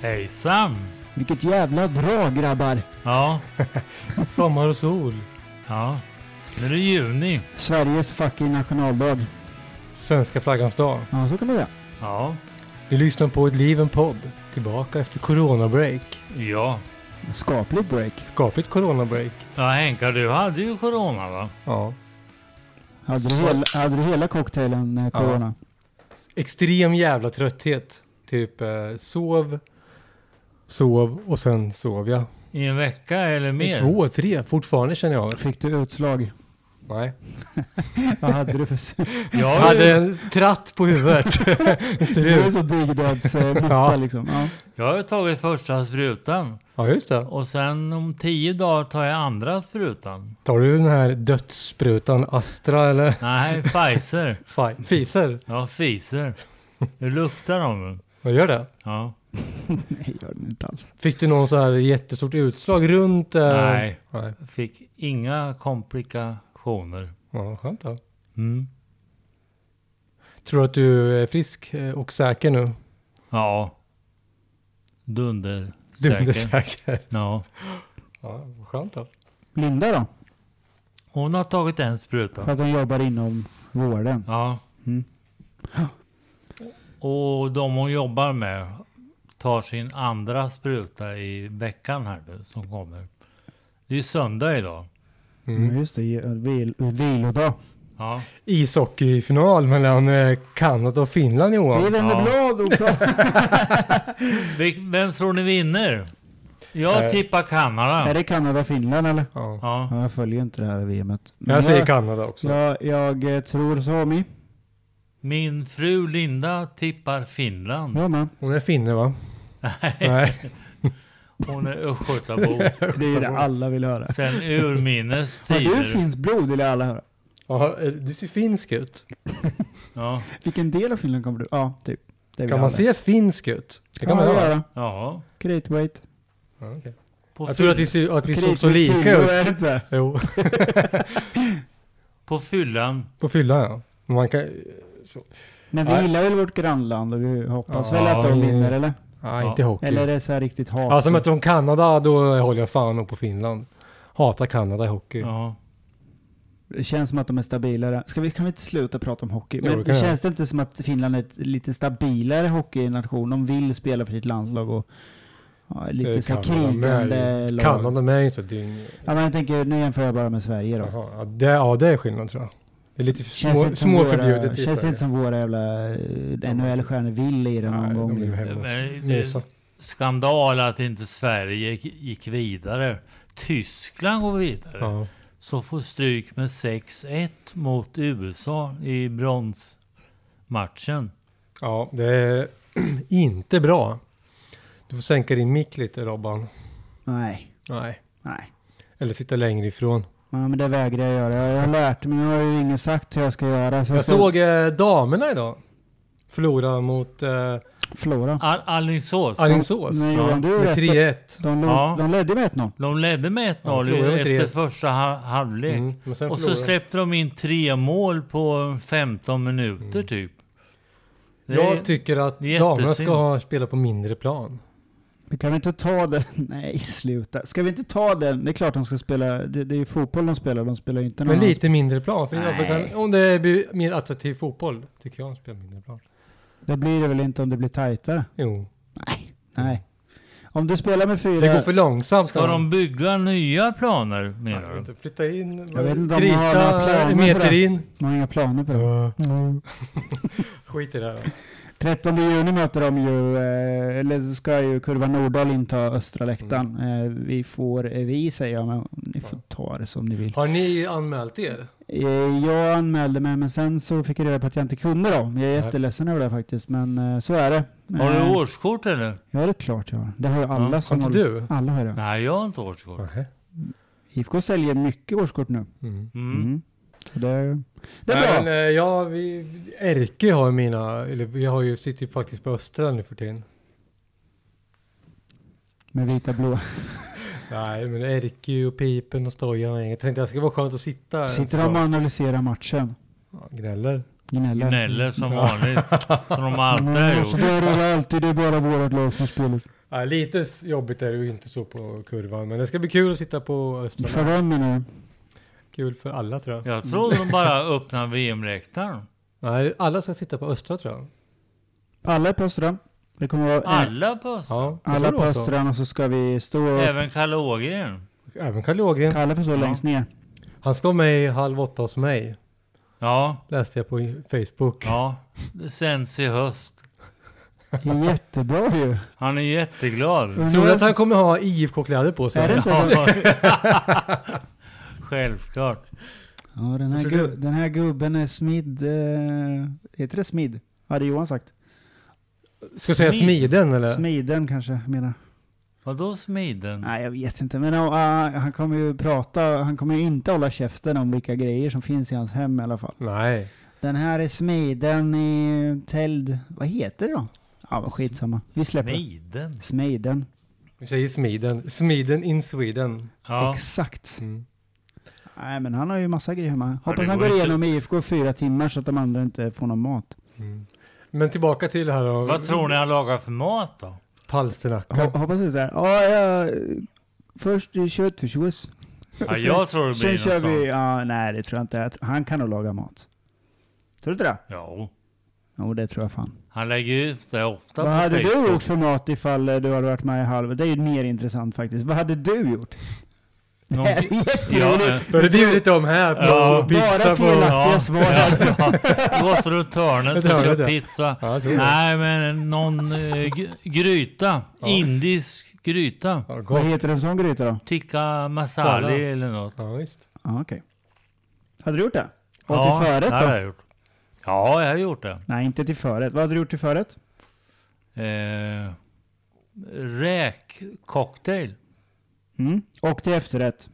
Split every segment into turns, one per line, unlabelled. Hej Sam!
Vilket jävla drag grabbar!
Ja,
Sommar och sol.
ja. Nu är det juni.
Sveriges fucking nationaldag.
Svenska flaggans dag.
Ja, så kan man göra.
Ja,
Du lyssnar på Ett liv, en podd. Tillbaka efter coronabreak.
ja.
Skaplig break.
Skapligt coronabreak.
Ja Henka, du hade ju corona va?
Ja.
Hade du hela, hade du hela cocktailen eh, corona?
Extrem jävla trötthet. Typ eh, sov, sov och sen sov jag.
I en vecka eller mer?
Två, tre fortfarande känner jag.
Fick du utslag?
Nej.
Vad hade du för...
Jag
Jag
har,
hade
ju,
en tratt på huvudet. Ser
Du är
det ut?
så digdödsmössa
Ja.
liksom. Ja.
jag har ju tagit första sprutan.
Ja, just det.
Och sen om tio dagar tar jag andra sprutan.
Tar du den här dödssprutan Astra eller
Nej, Pfizer.
Fi- Fiser?
Ja, Pfizer. Det luktar om den.
Vad gör det?
Ja.
Nej, gör den inte alls.
Fick du någon så här jättestort utslag runt? eh,
Nej.
Nej.
Fick inga komplikationer.
Ja, skönt då.
Mm.
Tror du att du är frisk eh, och säker nu?
Ja. Dunder.
Du är
säker.
säker.
Ja.
Ja, vad skönt då.
Linda då?
Hon har tagit en spruta.
För att hon jobbar inom vården.
Ja.
Mm.
Och de hon jobbar med tar sin andra spruta i veckan här nu som kommer. Det är ju söndag idag.
Ja, just det. ju- Vil, eh, vilodag.
Ja.
Ishockeyfinal mellan eh, Kanada och Finland
Vi
Johan.
vänder
Ja.
blad och pratar.
Vil- Vem tror ni vinner? Jag
Eh.
tippar
Är
Kanada.
det Kanada-Finland eller?
Ja.
Ja.
Ja, jag följer inte det här VMet. Men
Jag säger Kanada också.
jag, jag eh, tror Sami.
Min fru Linda tippar Finland.
Jag med.
Hon är finne va? Nej.
Hon är östgötabo.
Det är ju det alla vill höra.
Sen urminnes
Har du
tider.
finns blod eller alla höra?
Ja, eh, du ser finsk ut.
Ja.
Vilken del av Finland kommer du? Ja, typ. Det vill
Kan
alla.
man se finsk ut? Det kan man göra.
göra.
ja.
Great weight.
Ja, okej.
På,
Jag tror att vi,
fyll-
ser, att vi såg
Great
så
weight
lika
fyllo, är
ut.
det inte så här?
Jo,
på fyllan.
på fyllan ja. Men Man kan...
Men vi
Nej.
gillar väl vårt grannland och vi hoppas
Ja,
väl att de
vi-
vinner eller?
Nej,
Ja.
inte hockey.
Eller är det så här riktigt hat?
Alltså möter de Kanada då håller jag fan upp på Finland. Hatar Kanada i hockey.
Ja.
Det känns som att de är stabilare. Ska vi, kan vi inte sluta prata om hockey?
Jo,
Men
det
det
kan jag.
känns det inte som att Finland är ett lite stabilare hockeynation? De vill spela för sitt landslag och ja, lite
Eh,
så här
Kanada med-
krigande lag.
Kanada med är ju inte så dyng...
Ja, men jag tänker, nu jämför jag bara med Sverige då.
Jaha, ja, det, ja, det är skillnad tror jag. Det är lite
Känns
små,
inte som
små
våra-
förbjudet i
Känns
Sverige.
inte som våra jävla eh, NHL-stjärnor vill lira någon
Nej,
gång.
de blir
liksom.
hemma
Men
och
det-
mysa.
skandal att inte Sverige gick- gick vidare. Tyskland går vidare.
Ja.
Så får stryk med 6-1 mot USA i bronsmatchen.
ja, det är inte bra. Du får sänka din mick lite Robban.
Nej,
Nej.
nej.
Eller sitta längre ifrån.
Ja, men det vägrar jag göra. Jag har lärt mig, men jag har ju ingen sagt hur jag ska göra. Så
Jag såg eh, damerna idag. Förlora mot eh,
Flora.
Al- Alingsås.
Alingsås.
Nej,
Ja,
Johan, du är
med
rätt.
3-1.
De, lo-
Ja.
de ledde med 1-0.
De ledde med 1-0
Ja, de förlorade med
efter
3-1.
första ha- halvlek.
Mm, men sen
Och så
förlorade de.
släppte de in tre mål på 15 minuter typ. Det är-
Mm. Jag tycker att
det är jättesynd.
damerna ska ha- spela på mindre plan.
Vi kan väl inte ta den? Nej, sluta. Ska vi inte ta den? Det är klart de ska spela. Det, det är ju fotboll de spelar. De spelar ju inte någon
Men
annan
lite mindre plan. För jag
Nej.
kan, om det blir mer attraktiv fotboll tycker jag att spela mindre plan.
sp- Det blir det väl inte om det blir tajtare?
Jo.
Nej. Om du spelar med fyra...
Det går för långsamt.
Ska de bygga nya planer
Jag
menar
vet
du?
inte, Flytta in,
Jag vet inte om de har några planer
krita
på
meter
det.
in.
De har inga planer på det. Mm.
Skit i det här.
13 juni möter de ju, eh, eller ska ju Kurva Nordahl inta
Mm.
östra läktaren. Eh, Vi får, eh, vi säger jag, men ni får ta det som ni vill.
Har ni anmält er?
Eh, Jag anmälde mig men sen så fick jag reda på att jag inte kunde då. Jag är jätteledsen över det faktiskt men eh, så är det.
Har
Eh,
du årskort eller?
Ja det är klart jag har. Det har ju alla
Ja,
som
har inte du?
Alla har det.
Nej, jag har inte årskort.
Nähä.
IFK säljer mycket årskort nu.
Mm.
Mm.
Mm. Så det, det
Nej,
är
Men,
bra.
eh, ja, vi, Erke har ju mina, eller vi har ju, sitter ju faktiskt på Östra nu för tiden.
Med vita blå.
Nej, men Erke och Pipen och Stojan och inget. Jag tänkte att det ska vara skönt att sitta. här.
Sitter
Så-
de och analyserar matchen?
Ja, Gnäller.
Gnäller.
Gnäller som vanligt. Som de alltid har
Nej, så
gjort.
där är det alltid. Det är bara vårt lag som spelar.
Ja, lite s- jobbigt är det ju inte så på kurvan, men det ska bli kul att sitta på Östra.
För dem nu.
Kul för alla tror jag.
Jag trodde de bara öppnade VM-läktaren.
Nej, alla ska sitta på Östra tror jag.
Alla är på Östra. Det kommer vara eh,
Alla puss.
Ja, det
alla
får
på
vara så.
Östra och så ska vi stå och
Även Kalle Ågren.
Även Kalle Ågren.
kalla för så
Ja.
längst ner.
Han ska vara med i Halv åtta hos mig.
Ja,
Läste jag på i- Facebook.
ja. Det sänds i höst.
Det är jättebra ju.
Han är jätteglad.
Tror du att han kommer ha IFK-kläder på sig?
Är det inte så?
Ja. Självklart.
Ja, den här,
Försöker-
gu- den här gubben är smid... Eh, heter det smid? Hade Johan sagt.
Ska jag säga
Smid.
smiden eller?
Smiden kanske, menar
Vadå smiden?
Nej, jag vet inte. Men ja, ah, han kommer ju prata, han kommer ju inte hålla käften om vilka grejer som finns i hans hem i alla fall.
Nej.
Den här är smiden i täld... Vad heter det då? Ja, men skitsamma. Vi släpper det.
Smiden?
Smiden.
Vi säger smiden. Smiden in Sweden.
Ja.
Exakt.
Mm.
Nej, men han har ju massa grejer hemma.
Ja,
Hoppas
det
han
går
går
inte-
igenom IFK i fyra timmar så att de andra inte får någon mat.
Mm. Men tillbaka till det här då.
Vad tror ni han lagar för mat då?
Palsternacka.
Ho- Hoppas det är såhär, ja, jag... Först är köttfärssås.
Ja, jag tror det blir
Sen
något
kör
sånt.
vi... Ja, nej, det tror jag inte. Jag tror- Han kan nog laga mat. Tror du inte det?
Jo.
Jo, det tror jag fan.
Han lägger ut det ofta
Vad
på
hade du
Facebook.
gjort för mat ifall eh, du hade varit med i halv? Det är ju mer intressant faktiskt. Vad hade du gjort?
Någon...
Det här är
Ja, men-
jätteroligt.
Då är det bjudit om här på
Ja,
pizza
bara
på...
felaktigt. Fattiga svar.
ja. Gått runt hörnet
Runt
och köpt
hörnet,
pizza.
Ja, jag tror det.
Nej, men någon eh, g- gryta.
Ja.
Indisk gryta.
Ja,
Vad
gott.
heter en sån gryta då?
Tikka
Kolla.
masala eller något.
Ja, visst.
Ja, okej. Hade du gjort det? Och till förrätt
det
då?
har jag gjort. Ja, jag har gjort det.
Nej, inte till förrätt. Vad hade du gjort till förrätt?
Eh, räkcocktail.
Mm. Och till efterrätt?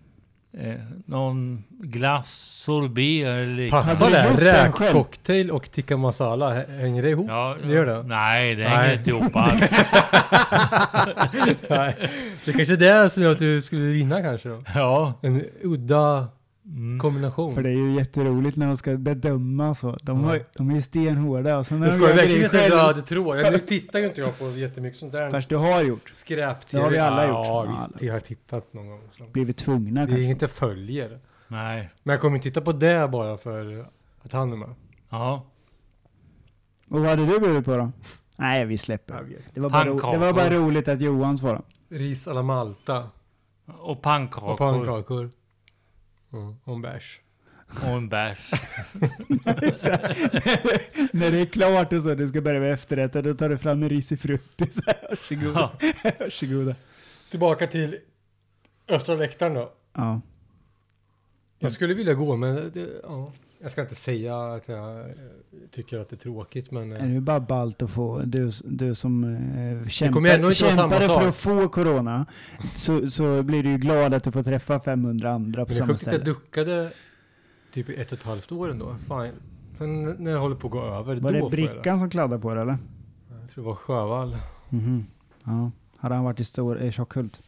Eh, någon glass, sorbet eller liknande.
Passar
Hade du
det?
gjort den själv?
Räkcocktail och tikka masala, H- hänger det ihop?
Ja,
Det gör det?
Nej, det
Nej.
hänger inte ihop alls.
Nej. Det kanske är det som gör att du skulle vinna kanske då?
Ja.
En udda
Mm.
kombination.
Oh. För det är ju jätteroligt när de ska bedöma så. De, har, ju- de är ju stenhårda. Och sen när
Det
de
ska ju
gör
verkligen inte
grejer själv-
röd tråd. Jag- Nu tittar ju inte jag på jättemycket sånt där.
Fast du har gjort.
Skräp
Det har vi alla gjort.
Ja,
Ja,
visst. Jag har tittat någon gång. Så.
Blivit tvungna
Det är
kanske.
inget jag följer.
Nej.
Men jag kommer inte titta på det bara för att han är med.
Ja.
Och vad hade du bjudit på då? Nej, vi släpper. Det var bara, ro-
Pannkakor.
det var bara roligt att Johan svarade.
Ris alla Malta
Och pannkakor.
och pannkakor. Mm. Och en bärs.
och en bärs.
När det är klart och så, du ska börja med efterrätten, då tar du fram en risig frukt. Så här, Varsågoda.
Ja.
Varsågoda.
Tillbaka till östra läktaren då.
Ja.
Jag skulle vilja gå men det, ja. jag ska inte säga att jag eh, tycker att det är tråkigt men
Det är
eh,
ju bara ballt att få, du, du som eh,
kommer ju
kämpar,
ändå inte vara samma
kämpade för
sak.
att få corona, så, så blir du ju glad att du får träffa 500 andra på
men det är
samma
sjukt att jag
ställe.
duckade typ i ett och ett halvt år ändå. Fan. Sen när jag håller på att gå över,
Var
då
det
får jag det.
brickan som kladdade på det eller?
Jag tror det var Sjövall,
Mhm. Ja. Hade han varit i stor, eh, Tjockhult?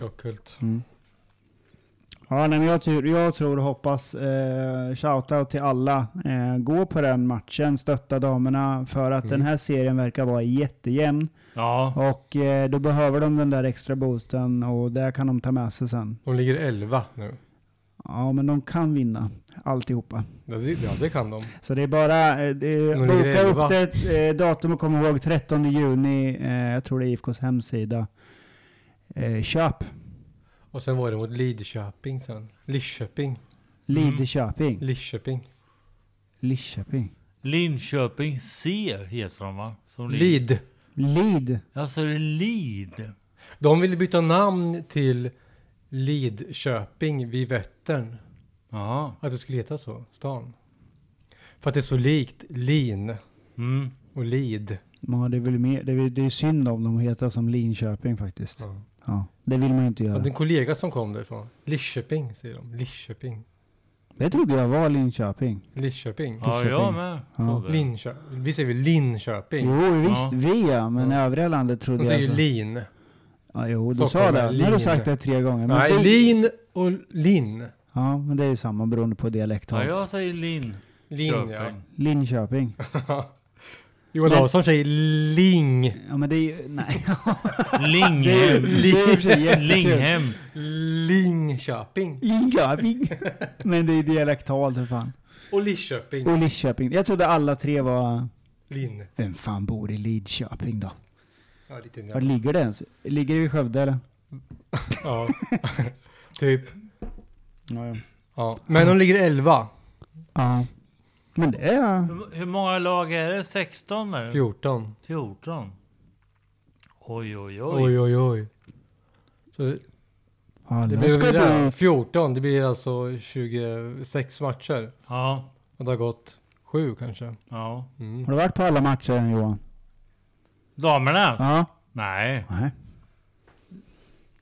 Tjockhult.
Mm. Ja, nej, men jag, tror, jag tror och hoppas, eh, shoutout till alla, eh, gå på den matchen, stötta damerna för att
Mm.
den här serien verkar vara jättejämn.
Ja.
Och eh, då behöver de den där extra boosten och det kan de ta med sig sen.
De ligger 11 nu.
Ja, men de kan vinna alltihopa.
Ja det, ja, det kan de.
Så det är bara, eh, det-
ligger
boka
elva.
upp det, eh, datum och kom ihåg 13 juni, eh, jag tror det är IFKs hemsida. Eh, köp,
Och sen var det mot Lidköping sen. Lidköping. Mm.
Lidköping,
Lidköping.
Lidköping,
Linköping C heter de va? Som Lid.
Lid.
Lid.
Alltså det är Lid.
De ville byta namn till Lidköping vid Vättern.
Jaha.
Att det skulle heta så, stan. För att det är så likt Lin
Mm.
och Lid.
Ja, det, är väl mer, det, är, det är synd om de heter som Linköping faktiskt.
Ja.
Ja, det vill man ju inte
Jag
göra.
hade en kollega som kom därifrån. Lidköping säger de. Lidköping.
Det trodde jag var Linköping.
Lidköping.
Ja, jag med.
Ja. Mm.
Trodde.
Linkö- vi säger väl Linköping.
Jo, visst, vi ja, men övriga landet trodde
De säger
jag...
ju
så-
Lin.
Ja, jo, du
Stockholm
sa
är
det. Nu har du
Lin.
sagt det tre gånger. Men
Nej,
det,
Lin och Lin.
Ja, men det är ju samma beroende på dialekt.
Ja, jag säger Linn.
Lin, ja.
Linköping.
Johan
Men-
Larsson säger Ling.
Ja, men det är ju... Nej. Det är
Linghem.
ju- det är i och för sig jättekul.
Linghem.
Lingköping.
Linköping. Men det är ju dialektalt för fan.
Och Lidköping.
Och Lidköping. Jag trodde alla tre var...
Lin.
Vem fan bor i Lidköping då?
Ja, lite
Var ligger det ens? Ligger det i Skövde eller?
Ja. typ.
Ja, ja.
Ja. Men de ligger 11.
ja. Men det är...
Hur- Hur många lag är det? 16 eller?
14.
14. Oj, oj, oj.
Oj, oj, oj. Så det,
Ja,
det
Mm. nu
blir
ska
väl
du...
det. 14. Det blir alltså 26 matcher.
Ja,
Och det har gått sju kanske.
ja.
Mm.
Har du varit på alla matcher Johan?
Damernas?
Ja.
Nej,
Nej.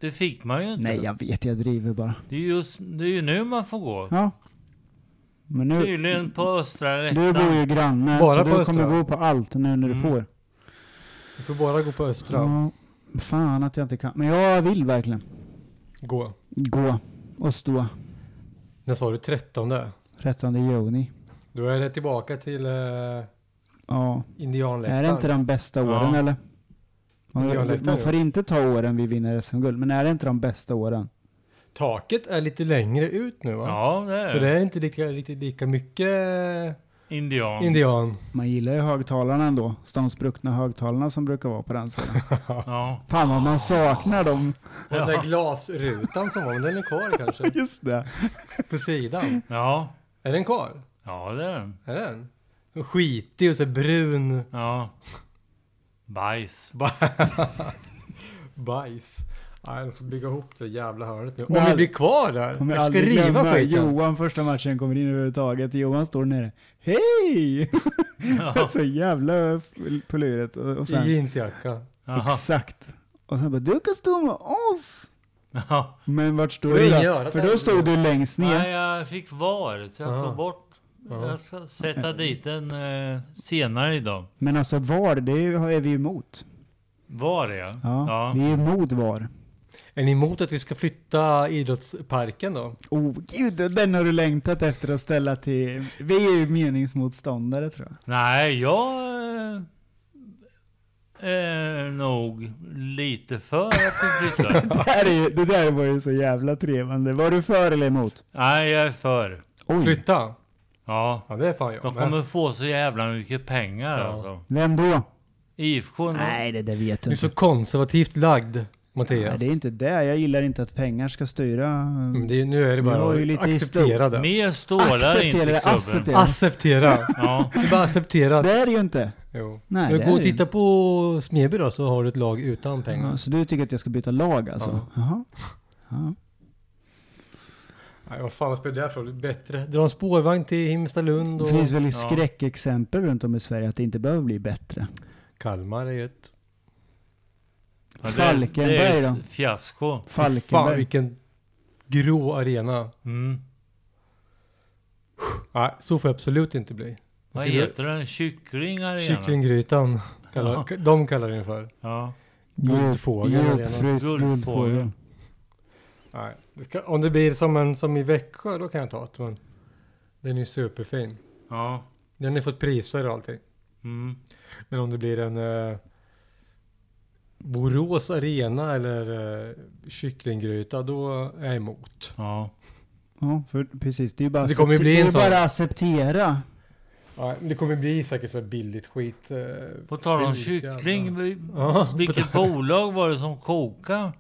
det fick man ju inte.
Nej, jag vet. Jag driver bara.
Det, är just, det är ju nu man får gå.
Ja. Men nu...
Tydligen på östra
Du bor
läktaren.
ju granne,
Bara
så
på
du
Östra.
kommer bo på allt nu när du
Mm.
får.
Du får bara gå på Östra.
Ja, fan att jag inte kan. Men jag vill verkligen
Gå.
gå och stå
När sa du 13?
13 juni.
Då är det tillbaka till eh,
Ja, är
indianläktaren.
det inte de bästa åren
Ja.
eller?
Ja,
Man,
lättare.
man får inte ta åren vi vinner SM-guld, men är det inte de bästa åren?
Taket är lite längre ut nu va?
Ja, det är
Så det är inte lika, riktigt lika mycket eh,
indian.
indian.
Man gillar ju högtalarna ändå. De spruckna högtalarna som brukar vara på den sidan.
Ja.
Fan vad man saknar dem.
Och den där glasrutan som var, men den är kvar kanske.
Just det.
På sidan.
ja,
Är den kvar?
ja det är den.
Är den? Så skitig och så brun
Ja. Bajs.
bajs. Nej, de får bygga ihop det där jävla hörnet nu. Om
Men
vi
all-
blir kvar där.
Kommer
Jag ska
aldrig
riva
glömma
skiten.
Johan första matchen kommer in överhuvudtaget. Johan står nere. Hej!
Ja.
Så jävla f- på luret. Och, och sen,
I jeansjacka.
Jaha.
Exakt. Och sen bara, du kan stå med oss.
Ja.
Men vart stod
Och
du
ring i
då?
örat
För
där.
då stod du längst
Nej,
ner.
jag fick VAR så jag
Ja.
tog bort.
Ja.
Jag ska sätta dit den eh, senare idag.
Men alltså VAR, det är ju- är vi emot.
VAR ja.
Ja,
Ja.
Vi är emot VAR.
Är ni emot att vi ska flytta idrottsparken då?
Oh gud, den har du längtat efter att ställa till. Vi är ju meningsmotståndare tror jag.
Nej, jag eh, är nog lite för att vi flyttar.
Det, här är, ju- det där var ju så jävla trevande. Var du för eller emot?
Nej, jag är för.
Oj.
Flytta?
Ja.
Ja, det är fan jag
De
med.
kommer få så jävla mycket pengar
Ja.
alltså.
Vem då?
IFK nu.
Nej, det där vet
Du
du
är så
inte.
konservativt lagd,
Nej,
Mattias.
det är inte det. Jag gillar inte att pengar ska styra.
Mm, det är, nu är det
Jag har
bara
ju lite
att acceptera det.
Mer stålar inte i
Acceptera
klubben.
det. Acceptera det.
Acceptera!
Ja.
Du bara acceptera.
Det är det ju inte.
Jo.
Nej, det
Men gå
är
och
det
titta på Smeby då, så har du ett lag utan pengar.
Ja, så du tycker att jag ska byta lag alltså? Jaha. Ja.
Nej, vad fan vad spelar det här för roll? Det är Bättre. Dra en spårvagn till Himstalund
Det
och...
finns väl
ja.
skräckexempel runt om i Sverige att det inte behöver bli bättre.
Kalmar är ju ett...
Ja, det-
Falkenberg
det är
då?
ett Fiasko.
Fan
Falkenberg.
vilken grå arena.
Mm.
Nej, så får det absolut inte bli.
Vad
Skulle-
heter den? Kycklingarena?
Kycklinggrytan. Kallar, De kallar den för.
Ja.
Guldfågel
Guldfågel.
arena.
Guldfryst
Guldfågel.
guldfågel.
Nej. Det ska, om det blir som, en, som i Växjö, då kan jag ta det. Men den är ju superfin.
Ja.
Den har fått priser och allting.
Mm.
Men om det blir en eh, Borås arena eller eh, kycklinggryta, då är jag emot.
Ja.
Ja, för, precis. Det är ju bara,
Det kommer ju
accepte-
bli
det är
en
ju
sån.
bara acceptera.
Nej, men det kommer bli säkert så här billigt skit. Eh,
På tal om
fult
kyckling.
jävla-
vi-
Ja,
Vilket bolag var det som kokade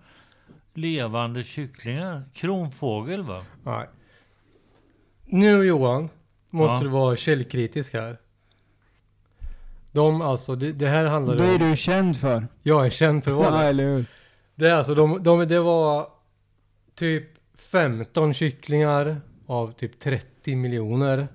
levande kycklingar? Kronfågel va?
Nej. Nu Johan, måste
Ja.
du vara källkritisk här. De alltså, det, det här handlar
Då är
om...
du känd för.
Jag är känd för att vara
Ja,
det.
eller hur?
Det är alltså, de, de, det var typ 15 kycklingar av typ 30 miljoner,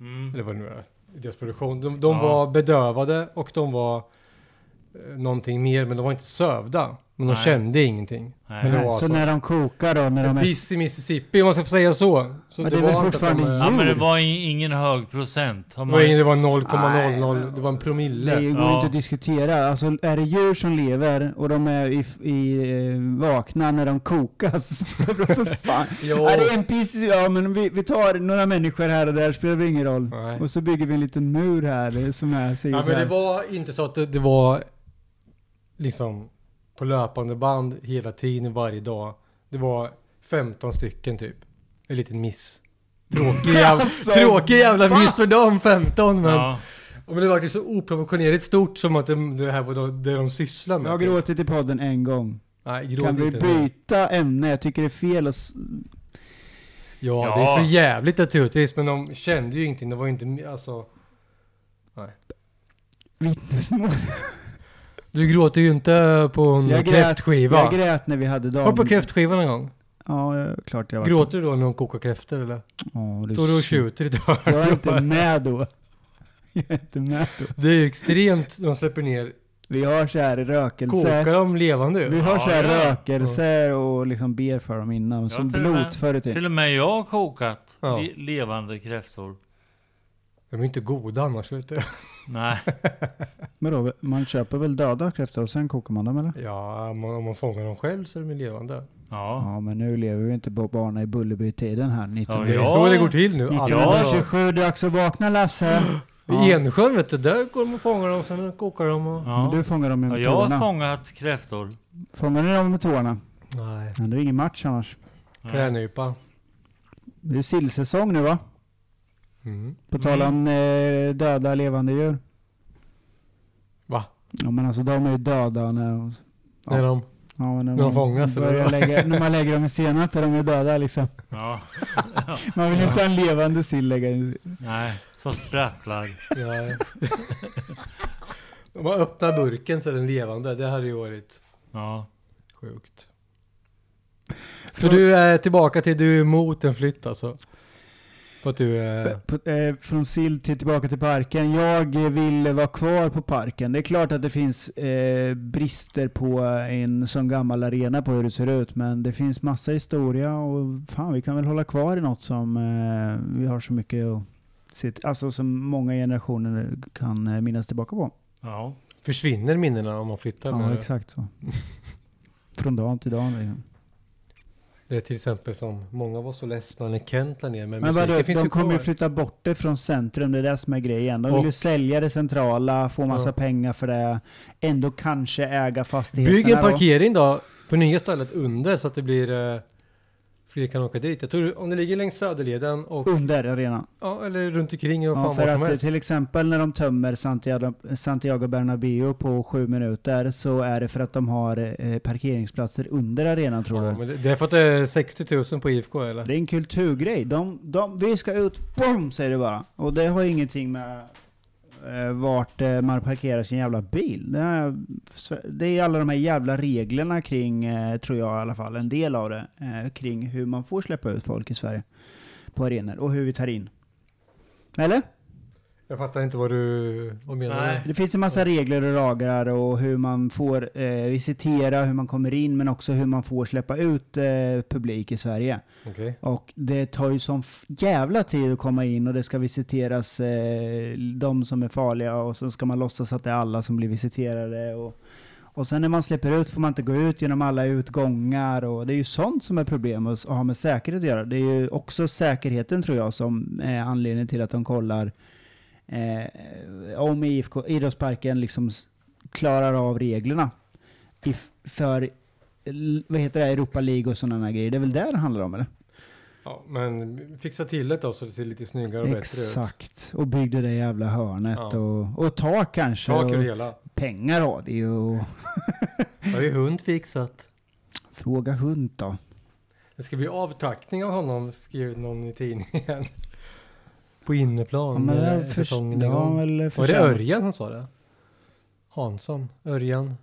Mm.
eller vad det nu är, i deras produktion. De, de
Ja.
var bedövade och de var eh, någonting mer, men de var inte sövda. Men de
Nej.
kände ingenting.
Nej.
Men det
Nej,
var
så
alltså,
när de kokar då, när de är...
piss i Mississippi, om man ska få säga så. så
Men det är väl
inte att de,
fortfarande
eh,
Ja, men det var i- ingen hög procent. Har
Det
man,
var, ingen- det var
Nej,
0,00,
men-
det var en promille.
Det går
Ja.
inte att diskutera. Alltså är det djur som lever och de är i, i, eh, vakna när de kokas, för fan.
Jo.
Ja, det är en piss, ja men vi, vi tar några människor här och där, spelar väl ingen roll.
Nej.
Och så bygger vi en liten mur här eh, som är sig
Ja,
så
men
här.
det var inte så att det, det var liksom på löpande band hela tiden, varje dag. Det var 15 stycken typ. En liten miss. Tråkig jävla,
Alltså,
tråkig jävla miss för dem, 15 men.
ja.
Men det var ju så oproportionerligt stort som att det, det här var då- det de sysslar med.
Jag har
typ.
gråtit i podden en gång.
Nej, gråt
kan vi
inte.
byta ämne? Jag tycker det är fel att... s-
Ja,
Ja.
det är för jävligt naturligtvis, men de kände ju ingenting. Det var ju inte, alltså.
Vittnesmål.
Du gråter ju inte på en
Jag grät-
kräftskiva.
Jag grät när vi hade
Var du
dagen.
på kräftskivan en gång?
Ja, eh, klart jag var
Gråter du då när de kokar kräftor eller?
Ja, det är
Står du och
shit.
tjuter i ett
Jag är
hörn?
inte med då. Jag är inte med då.
Det är ju extremt, de släpper ner,
Vi har så här rökelse.
kokar dem levande
Vi
ju.
har så här
Ja, ja.
rökelse och liksom ber för dem innan. Och
Ja,
som
till och med-
blot förr i tiden.
Till och med jag har kokat
Ja.
le- levande kräftor.
De är ju inte goda annars vet du.
Nej,
Men då, man köper väl döda kräftor och sen kokar man dem eller?
Ja, om man, om man fångar dem själv så är de ju levande.
ja.
Ja, men nu lever vi inte på barna i Bullerby-tiden här. 19...
Det är
Ja.
så det går till nu. Alla-
1927, dags att vakna Lasse.
I Ensjön vet du, där går de och fångar dem, sen kokar de och...
ja.
Du fångar dem
Ja,
med
jag har
tårna.
fångat kräftor.
Fångar ni dem med tårna?
Nej.
Ja, det är ingen match annars.
Ja.
Kränypa.
Det är sillsäsong nu va?
Mm.
På tal om eh, döda levande djur.
Va?
Ja men alltså de är ju döda när... Ja.
När de...
Ja, när,
de
man
fångas,
börjar
eller?
lägga, när man lägger dem i senap är de ju döda liksom.
Ja.
Man vill inte ha en levande sill lägga in.
Nej, som sprattlar.
Ja. Om man öppnar burken så är den levande, det hade ju varit
Ja.
sjukt. Så du är tillbaka till, du är emot en flytt alltså? För att du är...
På, eh, från sill till tillbaka till parken. Jag eh, vill vara kvar på parken. Det är klart att det finns eh, brister på en sån gammal arena på hur det ser ut. Men det finns massa historia och fan vi kan väl hålla kvar i något som eh, vi har så mycket att se, alltså som många generationer kan eh, minnas tillbaka på.
ja.
Försvinner minnena om man flyttar?
Ja,
med det?
exakt så. Från dag till dag liksom.
Det är till exempel som, många var så ledsna när Kent la ner, men,
Men
musiken
vadå,
finns
de
ju kvar.
kommer ju flytta bort det från centrum, det är det som är grejen. De vill ju
Och-
sälja det centrala, få massa
Ja.
pengar för det, ändå kanske äga fastigheterna.
Bygg en
då.
parkering då, på nya stället under så att det blir... Eh, fler kan åka dit. Jag tror om det ligger längs Söderleden och...
Under arenan.
Ja, eller runt omkring eller vad
Ja,
fan
för
var som
att eh,
helst.
till exempel när de tömmer Santiago, Santiago Bernabéu på sju minuter så är det för att de har eh, parkeringsplatser under arenan tror
Ja,
du.
men det, det är för att det är 60 000 på IFK eller?
Det är en kulturgrej. De, de, vi ska ut, boom säger det bara. Och det har ingenting med eh, vart eh, man parkerar sin jävla bil. Det är, det är alla de här jävla reglerna kring, eh, tror jag i alla fall, en del av det, eh, kring hur man får släppa ut folk i Sverige på arenor och hur vi tar in. Eller?
Jag fattar inte vad du vad menar.
Nej.
du?
Det finns en massa regler och lagar och hur man får eh, visitera, hur man kommer in, men också hur man får släppa ut eh, publik i Sverige.
Okej.
Och det tar ju som f- jävla tid att komma in och det ska visiteras eh, de som är farliga och sen ska man låtsas att det är alla som blir visiterade. Och, och sen när man släpper ut får man inte gå ut genom alla utgångar och det är ju sånt som är problem och s- har med säkerhet att göra. Det är ju också säkerheten tror jag som är anledningen till att de kollar eh, om IFK, idrottsparken liksom s- klarar av reglerna if, för l- vad heter det, Europa League och sådana grejer. Det är väl det det handlar om eller?
Ja, men fixa till det då så det ser lite snyggare och bättre ut.
Exakt, och byggde det jävla hörnet
Ja.
och, och tak kanske.
Tak över
och
hela.
pengar har det ju. och-
Jag har ju hund fixat.
Fråga hund då.
Det ska bli avtackning av honom, skrev någon i tidningen. På inneplan.
Ja, men det
när
är för,
säsongen
det har
igång.
väl
Var det
förtjänat.
Örjan som sa det? Hansson? Örjan?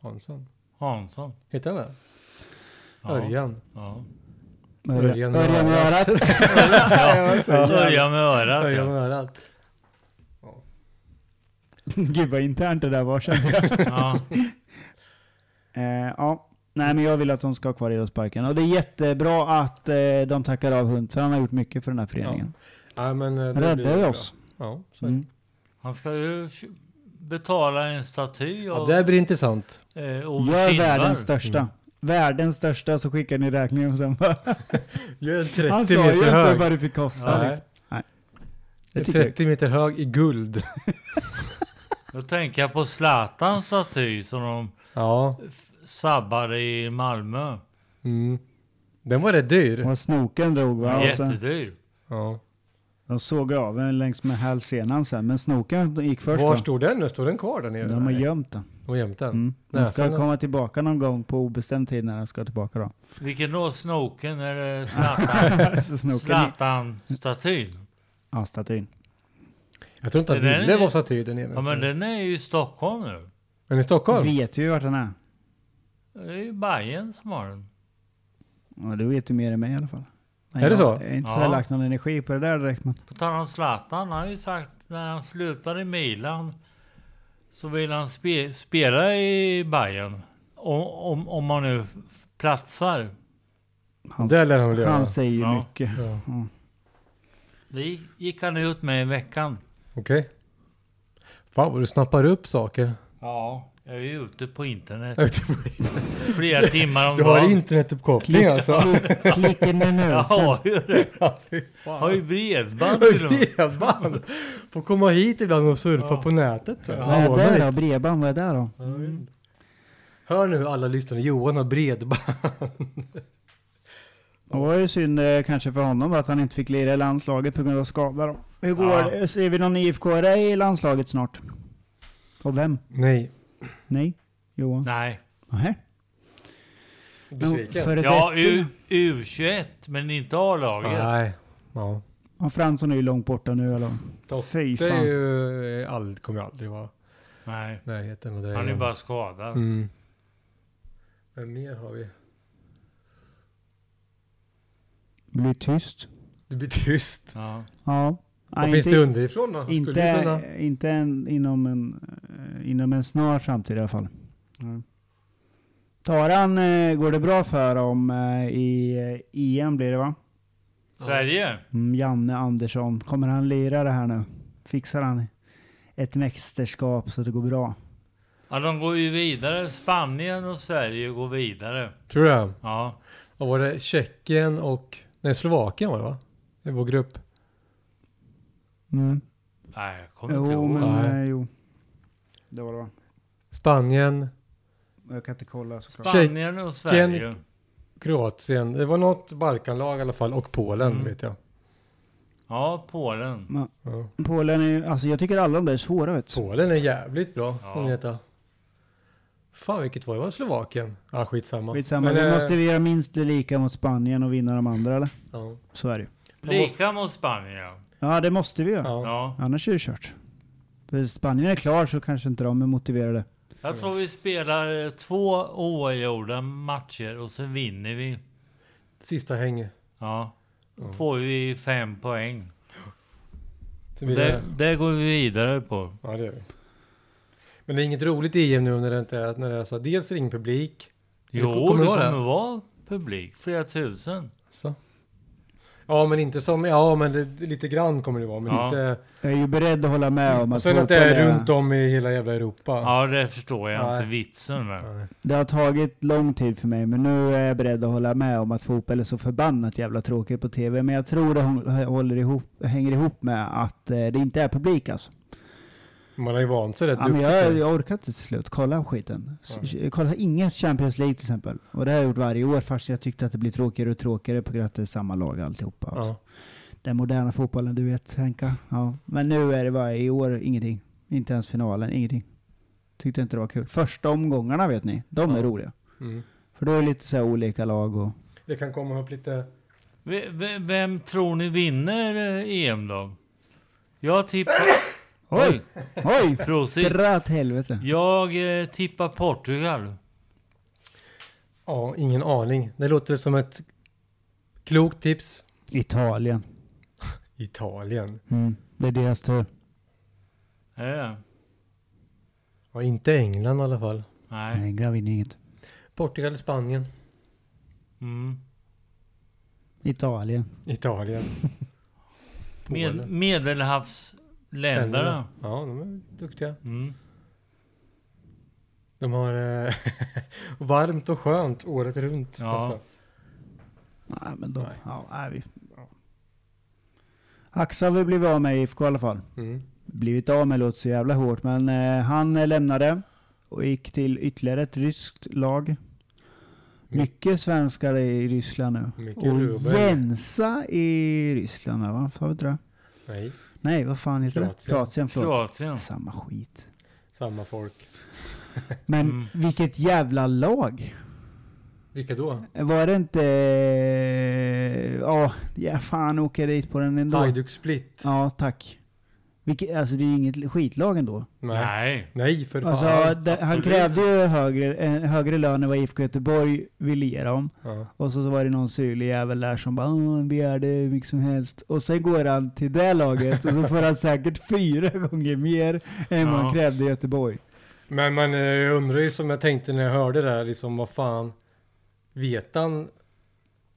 Hansson?
Hansson.
Heter han det?
Ja.
Örjan?
Ja.
Örjan
Örjan med
Örjan med
örat.
örat. Det var så jävla-
Örjan med örat
Börja
ja.
med örat.
Gud vad internt det där var kände jag.
ja.
Eh, ja. Nej men jag vill att de ska ha kvar idrottsparken. Och det är jättebra att eh, de tackar av Hunt, för han har gjort mycket för den här föreningen.
Ja, men, eh, det
Han
blir
räddade
bra.
oss.
Ja, så är det.
Mm.
Han ska ju kö- betala en staty
ja,
av
det här blir intressant.
eh, Ove
Gör
Kindvall.
världens största.
Mm.
Världens största så skickar ni räkningen och sen bara,
Gör 30
Han sa ju
meter
inte
hög.
vad det fick kosta.
Nej.
Liksom. Nej. Det
Gör
tycker jag.
30 meter hög i guld.
Då tänker jag på Zlatans staty som de
Ja.
sabbade i Malmö.
Mm. Den var rätt dyr.
Och snoken drog va? Och sen,
Jättedyr.
Ja.
de såg av den längs med hälsenan sen. Men snoken gick först
Var
va?
står den nu? Står den kvar där nere?
De har
Nej.
gömt den.
De har gömt den.
Mm. Den
Näsan
ska
då?
komma tillbaka någon gång på obestämd tid när den ska tillbaka då.
Vilken då? Snoken eller Zlatan?
så snoken
Zlatan-statyn?
Ja, statyn.
Jag tror inte att
Det där
Ville
är-
var staty där nere.
Ja men
så-
den är ju i Stockholm nu.
Men i Stockholm?
Vet ju vart den är.
Det är ju Bayern som har den.
Ja, du vet ju mer än mig i alla fall. Nej,
Är det
jag
så?
Jag har inte så
Ja.
lagt någon energi på det där direkt. Men
På tal om Zlatan, han har ju sagt när han slutar i Milan så vill han spe, spela i Bayern. Om, om, om man nu f- f- platsar.
han,
Det lär han väl göra.
han säger ju
Ja.
mycket.
Ja.
Ja.
Det gick han ut med i veckan.
Okej. Fan vad du snappar upp saker.
Ja, jag är ju ute på internet
Du
flera timmar om
har
dagen.
internetuppkoppling alltså.
Klick- Klicken med
Jag
musen.
har ju det.
Ja, fy
Jag
fan.
har ju bredband till och med.
Bredband! Får komma hit ibland och surfa på nätet. tror jag.
Vad är
Vad
det
är
då? Bredband, vad är det då?
det? Hör nu alla lyssnare, Johan har bredband.
Det var ju synd eh, kanske för honom att han inte fick lira i landslaget på grund av skada då. Hur går
Ja.
det? Ser vi någon ifk i landslaget snart? Och vem?
Nej,
Nej? Johan?
Nej.
Nej.
besviken.
Ja, U, U21, men inte A-laget.
Nej, ja.
Och Fransson är ju långt borta nu eller? Fy
Totte
fan.
är ju, all, kommer ju aldrig vara
Nej.
i närheten av dig.
Han är ju bara skadad.
Mm. Men mer har vi?
Blir tyst.
Det blir tyst.
Ja.
Ja.
Vad
Nej,
finns
inte-
det underifrån då? Skulle ju kunna...
Inte, inte en, inom, en, eh, inom en snar framtid i alla fall. Mm. Taran eh, går det bra för om eh, i eh, EM blir det va?
Sverige?
Mm, Janne Andersson, kommer han lira det här nu? Fixar han ett mästerskap så det går bra?
Ja, de går ju vidare. Spanien och Sverige går vidare.
Tror du det?
Ja.
Vad var det? Tjeckien och... Nej, Slovakien var det va? I vår grupp.
Mm.
Nej, jag kommer inte
Jo,
ihåg.
men
Nej.
eh, jo. Det var det va?
Spanien,
Jag kan inte kolla såklart.
Spanien och Sverige.
Kroatien. Det var något Balkanlag i alla fall. Och Polen
Mm.
vet jag.
Ja, Polen.
Ja.
Polen är ju, alltså jag tycker alla de där är svåra vet du.
Polen är jävligt bra.
Ja.
Ja. Veta. Fan vilket var det? Var det Slovakien? Ja, ah, skitsamma.
Skitsamma,
Men,
nu
eh,
måste vi göra minst lika mot Spanien och vinna de andra eller?
ja.
Så är det ju.
Man måste-
Lika mot Spanien, ja.
Ja, det måste vi göra.
Ja.
ja.
Annars är det kört. För Spanien är klar så kanske inte de är motiverade.
Jag tror vi spelar eh, två oavgjorda matcher och så vinner vi.
Sista häng.
Ja. Då
Ja.
får vi fem poäng.
Sen vill jag-
Det, det går vi vidare på.
Ja, det gör vi. Men det är inget roligt i EM nu när det inte är, när det är så. Dels är det ingen publik.
Jo,
det
det
kommer
kommer,
vara det.
vara publik. Flera tusen.
Så. Ja, men inte som... Ja, men det, lite grann kommer det vara. Men
Ja.
inte...
Jag är ju beredd att hålla med om
Och
att
sen att det
fotboll
är runt om i hela jävla Europa.
Ja, det förstår jag
Nej.
inte vitsen med.
Nej.
Det har tagit lång tid för mig, men nu är jag beredd att hålla med om att fotboll är så förbannat jävla tråkigt på TV. Men jag tror det hå- håller ihop, hänger ihop med att eh, det inte är publik alltså.
Man har ju vant sig rätt
Ja, men
duktigt.
jag,
nu.
jag orkar inte till slut kolla skiten. S- Kolla inget Champions League till exempel. Och det har jag gjort varje år fast jag tyckte att det blir tråkigare och tråkigare på grund av att det är samma lag alltihopa. Alltså.
Ja.
Den moderna fotbollen, du vet Henka. Ja. Men nu är det bara i år ingenting. Inte ens finalen, ingenting. Tyckte inte det var kul. Första omgångarna vet ni, de är
Ja.
roliga.
Mm.
För då är det lite så här olika lag och...
Det kan komma upp lite...
V- v- vem tror ni vinner eh, EM då? Jag tippar...
Oj! Oj!
Prosit.
Dra åt helvete.
Jag eh, tippar Portugal.
Ja, ingen aning. Det låter som ett Klokt tips.
Italien.
Italien.
Mm. Det är deras tur.
Är det det?
Ja, inte England i alla fall.
Nej.
Nej, gravid inget.
Portugal, Spanien.
Mm.
Italien.
Italien.
Med,
Polen.
medelhavsländerna.
Ja, de är duktiga.
Mm.
De har eh, varmt och skönt året runt. Alltså.
Ja.
nästan.
Nej, men de...
Nej.
Ja, nej, vi... Axel har vi blivit av med i IFK i alla fall.
Mm.
blivit av med låter så jävla hårt, men eh, han eh, lämnade och gick till ytterligare ett ryskt lag. Mycket svenskar i Ryssland nu.
Mycket
och
rubel.
Jensa i Ryssland, va? Vad fan vet du det?
Nej,
Nej, vad fan heter
Kroatien.
det? Kroatien. Förlåt.
Kroatien.
Samma skit.
samma folk.
Men
Mm.
vilket jävla lag!
Vilka då?
Var det inte... eh, Ja, ja fan åka dit på den ändå.
Hajduk Split.
Ja, tack. Vilket, alltså det är ju inget skitlag ändå.
Nej.
Nej.
Nej, för fan.
Alltså, det, han
absolut.
krävde ju högre, en högre lön än vad IFK Göteborg ville ge dem.
ja.
Och så, så var det någon syrlig jävel där som bara "Åh, han begärde hur mycket som helst. Och sen går han till det laget och så får han säkert fyra gånger mer än vad
Ja.
han krävde i Göteborg.
Men man eh, undrar ju som jag tänkte när jag hörde det här, liksom vad fan. Vet han?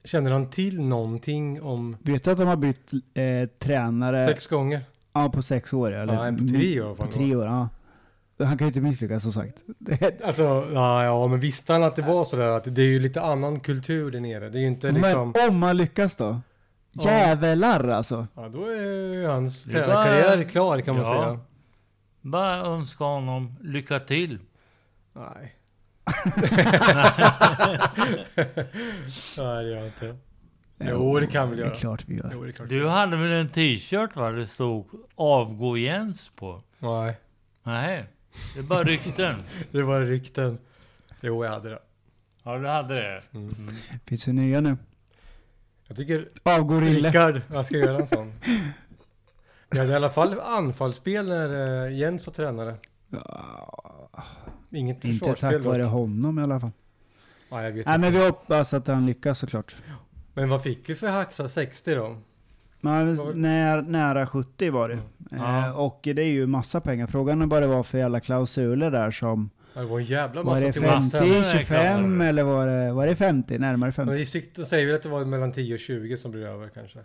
Känner han till någonting om
Vet du att de har bytt eh, tränare
sex gånger?
Ja, på sex år? Eller?
Ja, på tre år.
På
fan.
tre år, ja. Han kan ju inte misslyckas som sagt. Det,
Alltså, ja, ja, men visste han att det var sådär att det är ju lite annan kultur där nere. Det är ju inte liksom,
Men om man lyckas då?
Ja.
Jävlar alltså!
ja då är ju hans
Det är bara-
tränarkarriär klar kan man
Ja.
säga.
Bara önska honom lycka till.
Nej. Nej, det gör jag inte. Jo, det kan vi
Det
göra.
är klart vi gör.
Jo, det är klart.
Du hade väl en t-shirt va? Det stod avgå Jens på?
Nej,
Nej. Det är bara rykten.
det var rykten. Jo, jag hade det.
Ja, du hade det.
Mm.
Mm.
Finns det nya nu?
Jag tycker
Avgår Rille.
Rickard, jag ska göra en sån. Vi hade i alla fall anfallsspel när eh, Jens var tränare.
Ja,
Inget
Inte tack
försvarsspel dock.
vare honom i alla fall.
Ja, jag vet
Nej men
inte.
vi hoppas att han lyckas såklart.
Men vad fick vi för Haxa 60 då?
Men,
Var-
när, nära 70 var det.
Ja.
Eh, och det är ju massa pengar. Frågan är vad det var för jävla klausuler där som...
Ja, Det var en jävla
Var
massa
det
till
50,
Western.
Massen är
25
klausuler.
eller var det, var det 50? Närmare 50?
Men i sikt- De säger väl att det var mellan 10 och 20 som blir över kanske.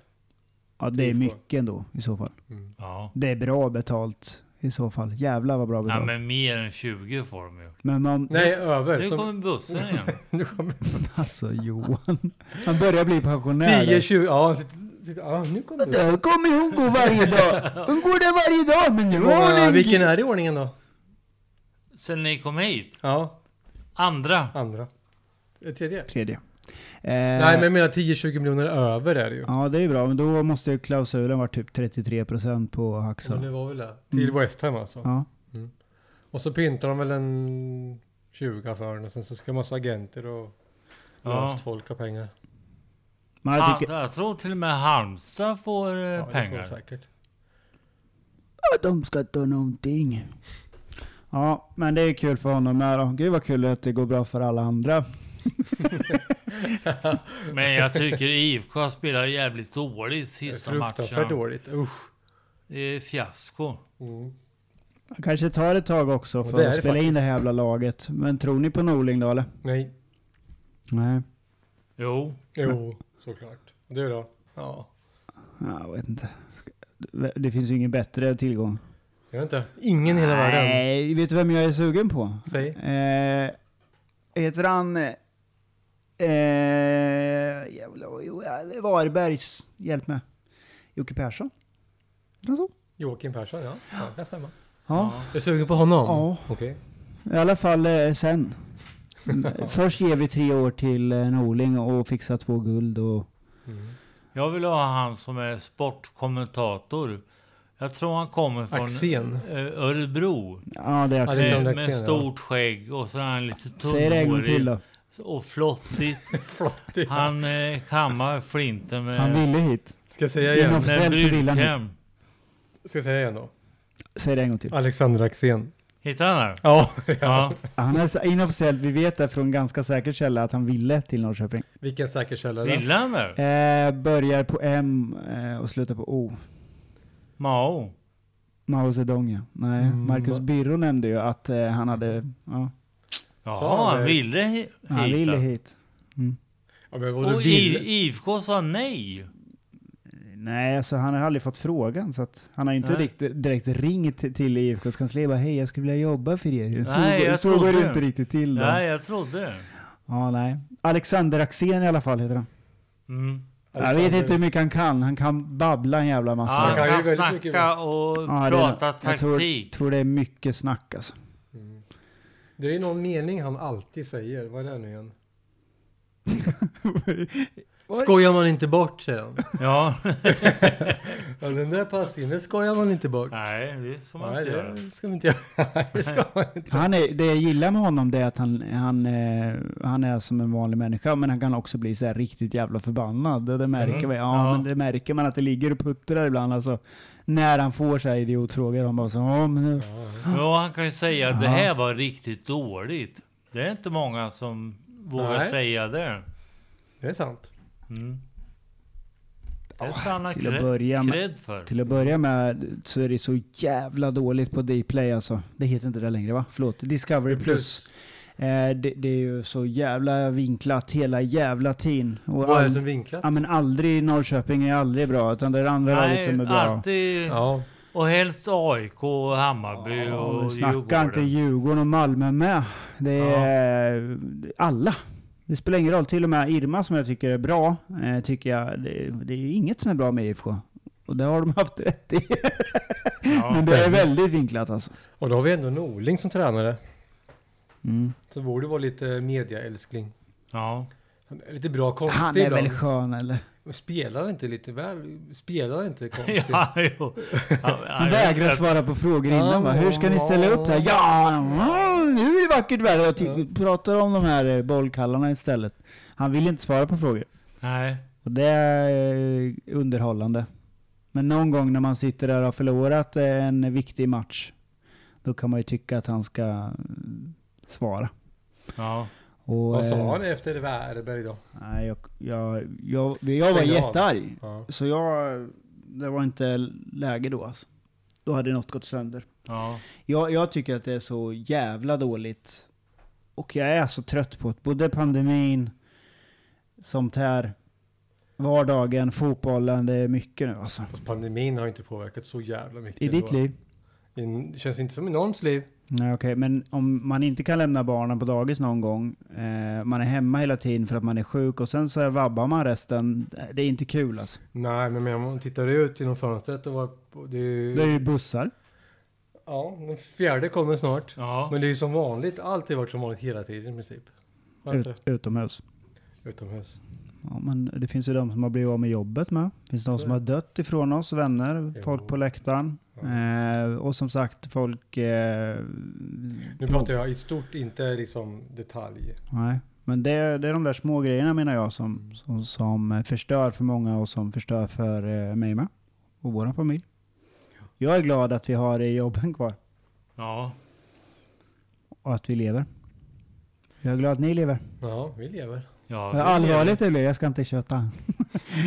ja det är
IFK.
mycket ändå i så fall.
Mm.
Ja.
Det är bra betalt i så fall. Jävlar vad bra betalt.
ja,
men...
men mer än 20 får de ju.
man,
Nej, över.
Nu
Som,
kommer bussen igen.
nu kommer
alltså Johan. Han börjar bli pensionär.
10, 20, ja. han sitter- sitter- ja nu kommer du.
Där kommer hon gå varje dag. Hon går där varje dag. Men nu
Hur
har hon
många-
en
Vilken är det i ordningen då?
Sen ni kom hit.
Ja,
Andra.
andra. Eh, Tredje?
Tredje. Eh,
Nej, men jag menar 10-20 miljoner över är det ju.
Ja, det är bra. Men då måste ju klausulen vara typ 33% på
Så det
Haxan.
var väl det. Till West Ham alltså.
Ja.
Och så pyntar de väl en 20 för den och sen så ska massa agenter och
Ja.
löst folk ha pengar.
Men jag
Jag,
tycker...
jag tror till och med Halmstad får eh,
Ja, det får de
pengar.
säkert.
Att de ska ta någonting. Ja, men det är kul för honom med då. Gud vad kul att det går bra för alla andra.
Men jag tycker IFK spelar jävligt dåligt
Det är
sista
fruktansvärt
matchen.
dåligt. Usch.
Det är fiasko.
Mm.
Han Kanske tar ett tag också
Ja, det
för
är
att
det
spela in det här jävla laget. Men tror ni på Norling då eller?
Nej.
Nej.
Jo.
Jo, såklart. Och Du då? Ja.
Ja, Jag vet inte. Det finns ju ingen bättre tillgång.
Jag vet inte. Ingen i hela världen.
Nej, vet du vem jag är sugen på?
Säg.
Eh, heter han... Eh, jävla, jo, ja, Varbergs. Hjälp mig. Jocke Persson? Är det så?
Joakim Persson, ja. ja det stämmer.
Ja.
Du är sugen på honom?
Ja.
Okej.
I alla fall eh, sen. Mm, Först ger vi tre år till eh, Norling och fixar två guld och...
Mm.
Jag vill ha han som är sportkommentator. Jag tror han kommer från
Axén.
eh, Örebro.
Ja, det är
Ja,
också.
det är
Med,
Alexander
med
Axén, ja.
stort skägg och så är han lite
Säg det en gång till
tunnhårig.
då.
Och flottigt.
Flottigt.
Han eh, kammar flinten med...
Han ville hit.
Ska jag säga
Genom-
igen?
med
Officiellt så vill han
brudkräm.
Ska jag säga igen då?
Säg det en gång till.
Alexander Axén.
Hittade han den?
Ja, ja.
Ja.
Han är så- inofficiellt, vi vet det från ganska säker källa att han ville till Norrköping.
Vilken säker källa det är.
Ville han det?
Eh, börjar på M eh, och slutar på O.
Mao?
Mao Zedong ja. Nej,
Mm.
Marcus Birro nämnde ju att eh, han hade, ja,
Jaha,
Sa han
han
det?
ville hi- hit.
han ville
alltså.
hit. Mm.
Ja, men vadå
Och
ville?
I- IFK sa nej.
Mm. Nej, alltså han har aldrig fått frågan så att han har inte
Nej.
direkt, direkt ringt till- till IFKs kansli och bara hej jag skulle vilja jobba för er. Så,
Nej, jag
så går
trodde
det
det.
inte riktigt till då.
Nej, jag trodde det.
Ja, nej. Alexander Axén i alla fall heter han.
Mm.
Jag vet inte hur mycket han kan, han kan babbla en jävla
Ja,
massa.
han
kan ju
kan
väldigt mycket
snacka och
Ja, det är det.
prata
Jag tror-
taktik.
tror det är mycket snack alltså.
Mm. Det är någon mening han alltid säger. Vad är det nu igen? Skojar man inte bort, säger han.
Ja,
Ja, den där passningen, det skojar man inte bort.
nej, det ska man
Nej,
inte göra.
det ska man inte göra. Det ska man inte.
Han är, det jag gillar med honom det är att han, han, eh, han är som en vanlig människa, men han kan också bli så här riktigt jävla förbannad. Det, det, märker,
Mm.
man, ja,
Ja.
Men det märker man att det ligger och puttrar ibland. Alltså, när han får så här idiotfrågor. Han bara så, ja, men nu.
Ja, han kan ju säga att det
Ja.
här var riktigt dåligt. Det är inte många som vågar
Nej.
säga det.
Det är sant.
Mm. Det ska han ha
till att
cred-
börja med-
cred för.
Till att börja med så är det så jävla dåligt på Dplay alltså. Det heter inte det längre va? Förlåt. Discovery Plus. Eh, det, det är ju så jävla vinklat hela jävla tiden. Och
Vad är det
all-
som vinklat?
Ja men aldrig Norrköping är aldrig bra, utan det är det andra laget som
Nej,
är liksom bra.
alltid.
Ja.
Och helst AIK, och Hammarby
Ja, men
och
Snacka inte
Djurgården.
Djurgården och Malmö med. Det är alla. Det spelar ingen roll. Till och med Irma som jag tycker är bra, eh, tycker jag, det, det är inget som är bra med IFK. Och det har de haft rätt i.
Ja.
Men det är väldigt vinklat alltså.
Och då har vi ändå en Norling som tränare.
Mm.
Så borde vara lite mediaälskling.
ja.
Han är Lite bra
Han
konstig
är
ibland.
väl skön eller?
Men Spelar inte lite väl? Spelar inte konstigt?
Ja, jo. Ja,
Han
jag-
vägrar
jag-
svara på frågor innan va?
Ja,
Hur ska ni ställa upp det här? Ja, mm, nu är det vackert väder. Jag ty- pratar om de här eh, bollkallarna istället. Han vill inte svara på frågor.
Nej.
Och det är eh, underhållande. Men någon gång när man sitter där och har förlorat eh, en viktig match, då kan man ju tycka att han ska mm, svara.
Ja.
Och,
Vad
eh,
sa han efter Värberg då?
Nej, jag, jag, jag, jag var
Stängde av.
jättearg.
Ja.
Så jag, det var inte läge då alltså. Då hade något gått sönder.
Ja.
Jag, jag tycker att det är så jävla dåligt. Och jag är så trött på det. Både pandemin, sånt här, vardagen, fotbollen. Det är mycket nu alltså.
Fast pandemin har inte påverkat så jävla mycket.
I ditt
ändå.
liv?
I- känns inte som i någons liv.
Nej, okej. Men om man inte kan lämna barnen på dagis någon gång, eh, man är hemma hela tiden för att man är sjuk och sen så vabbar man resten. Det är inte kul alltså.
Nej, men men om man tittar ut genom fönstret och var på, det är ju,
Det är ju bussar.
Ja, den fjärde kommer snart.
Ja.
Men det är ju som vanligt. Allt har varit som vanligt hela tiden i princip. Har det inte
Ut, utomhus.
det? Utomhus.
Ja, men det finns ju de som har blivit av med jobbet med. Det finns de
Så
som
är
har dött ifrån oss, vänner,
Jo.
folk på läktaren.
Ja.
Eh, och som sagt, folk... Eh,
Nu pratar jag i stort, inte liksom detalj.
Nej, men det, det är de där små grejerna menar jag
Mm.
som, som, som förstör för många och som förstör för eh, mig med. Och vår familj. Jag är glad att vi har eh, jobben kvar
Ja.
och att vi lever. Jag är glad att ni lever.
Ja, vi lever.
Ja.
Vad Allvarligt det blir, jag ska inte köta.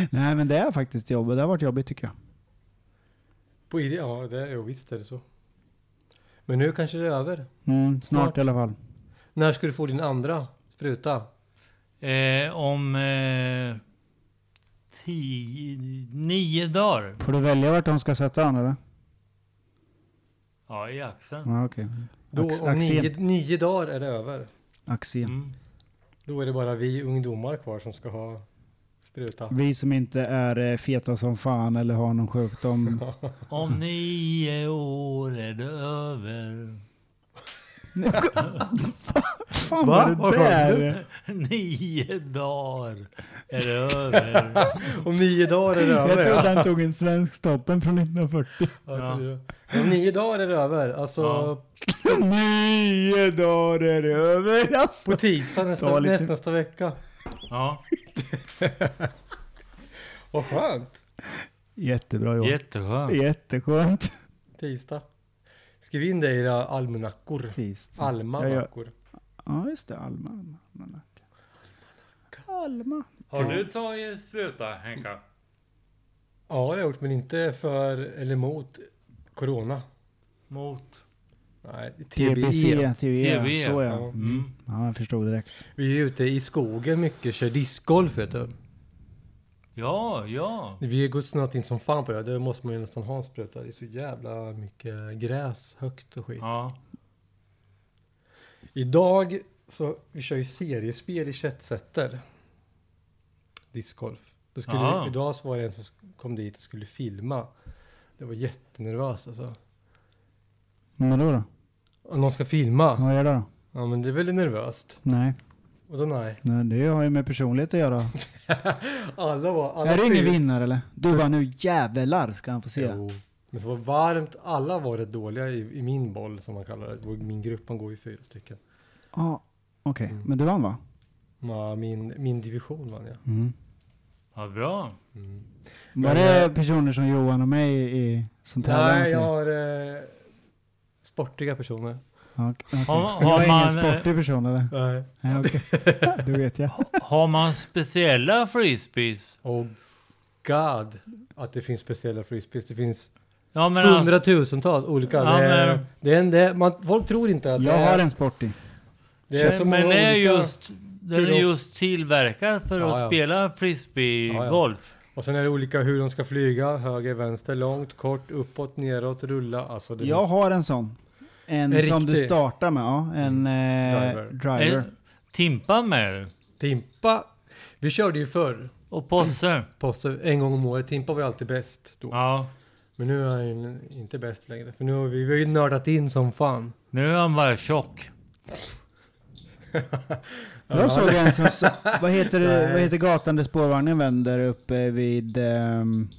Nej men det är faktiskt jobbigt, det har varit jobbigt tycker jag.
På ide- ja, det, jo, visst är det så. Men nu kanske det är över.
Mm, snart,
Snart.
i alla fall.
När ska du få din andra spruta?
Eh, om eh, tio, nio dagar.
Får du välja vart de ska sätta den eller?
Ja, i axeln.
Ja okej.
Då,
Ax-
om
Axén.
nio, nio dagar är det över.
Axén.
Mm.
Då är det bara vi ungdomar kvar som ska ha spruta.
Vi som inte är eh, feta som fan eller har någon sjukdom.
Om nio år är det över.
fan
Va?
vad
Vad
det
skönt.
där?
Nio dagar är det över.
Om nio dagar är det
Jag
över
trodde
ja.
han tog en svensk toppen från 1940.
Ja, det är det. Om nio dagar är det över. Alltså
Ja.
Nio dagar är det över alltså.
på tisdag nästa,
Ta lite-
näst, nästa vecka.
Ja,
Vad skönt.
Jättebra Johan.
jätteskönt.
Jätteskönt.
Tisdag. Skriv in det i era almanackor.
Fis.
Almanackor.
Ja, just det. Alma. Alma. Alma. Alma.
Har du tagit spruta Henka?
Ja, det har jag gjort, men inte för eller mot corona.
Mot?
Nej, TBE.
TBC, TBE.
TBE,
E. Så ja.
ja.
Mm. Ja, jag förstod direkt.
Vi är ute i skogen mycket, kör discgolf vet du.
Ja, ja.
Vi har gått snöat in som fan på det. Det måste man ju nästan ha en spruta. Det är så jävla mycket gräs högt och skit.
Ja.
Idag så, vi kör ju seriespel i Chetsetter. Discgolf. Då skulle,
Aha.
idag så var det en som kom dit och skulle filma. Det var jättenervöst alltså.
Men då då?
Om någon ska filma?
Vad gör du då?
Ja men det är väl nervöst?
Nej,
Och då nej.
nej, det har ju med personlighet att göra.
Alla var... Alla
är det ingen
fyra-
vinnare eller? Du bara nu jävlar ska han få se.
Jo. Men så var det varmt. Alla var rätt dåliga i, i min boll som man kallar det. Vår- Min grupp, man går ju fyra stycken.
Ja, okej.
Mm.
Men du vann va?
Ja, min, min division vann jag.
Vad bra.
Var det personer som Johan och mig i som tävlar?
eh, Nej, jag har eh, sportiga personer.
Ja, okej.
Har-
För
har
jag är
man,
ingen sportig person eller?
Nej.
Nej, okej. Det vet jag.
Har man speciella frisbees?
Oh god, att det finns speciella frisbees. Det finns
Ja men alltså,
hundratusentals olika.
Ja,
det, är-
men-
det är en, det, är- man, folk tror inte att det
Jag
är...
har en sportig.
det är så
men
många
det är
olika.
just, den
Hur
är
då?
just tillverkad för
Ja,
att
ja.
spela
Ja, ja.
frisbeegolf.
Och sen är det olika hur de ska flyga. Höger, vänster, långt, kort, uppåt, neråt, rulla. Alltså det
Jag
finns-
har en sån. En,
En
som du
riktig?
startar med, ja. En eh,
Driver.
driver.
Eh, Timpa med
Timpa. Vi körde ju förr.
och posse.
Mm. Posse, en gång om året. Timpa var ju alltid bäst då.
Ja.
Men nu är han ju inte bäst längre. För nu har vi, vi har ju nördat in som fan.
Nu är han bara tjock.
Jag såg en som... stod- Vad heter, det- vad heter gatan där spårvagnen vänder uppe vid... ehm,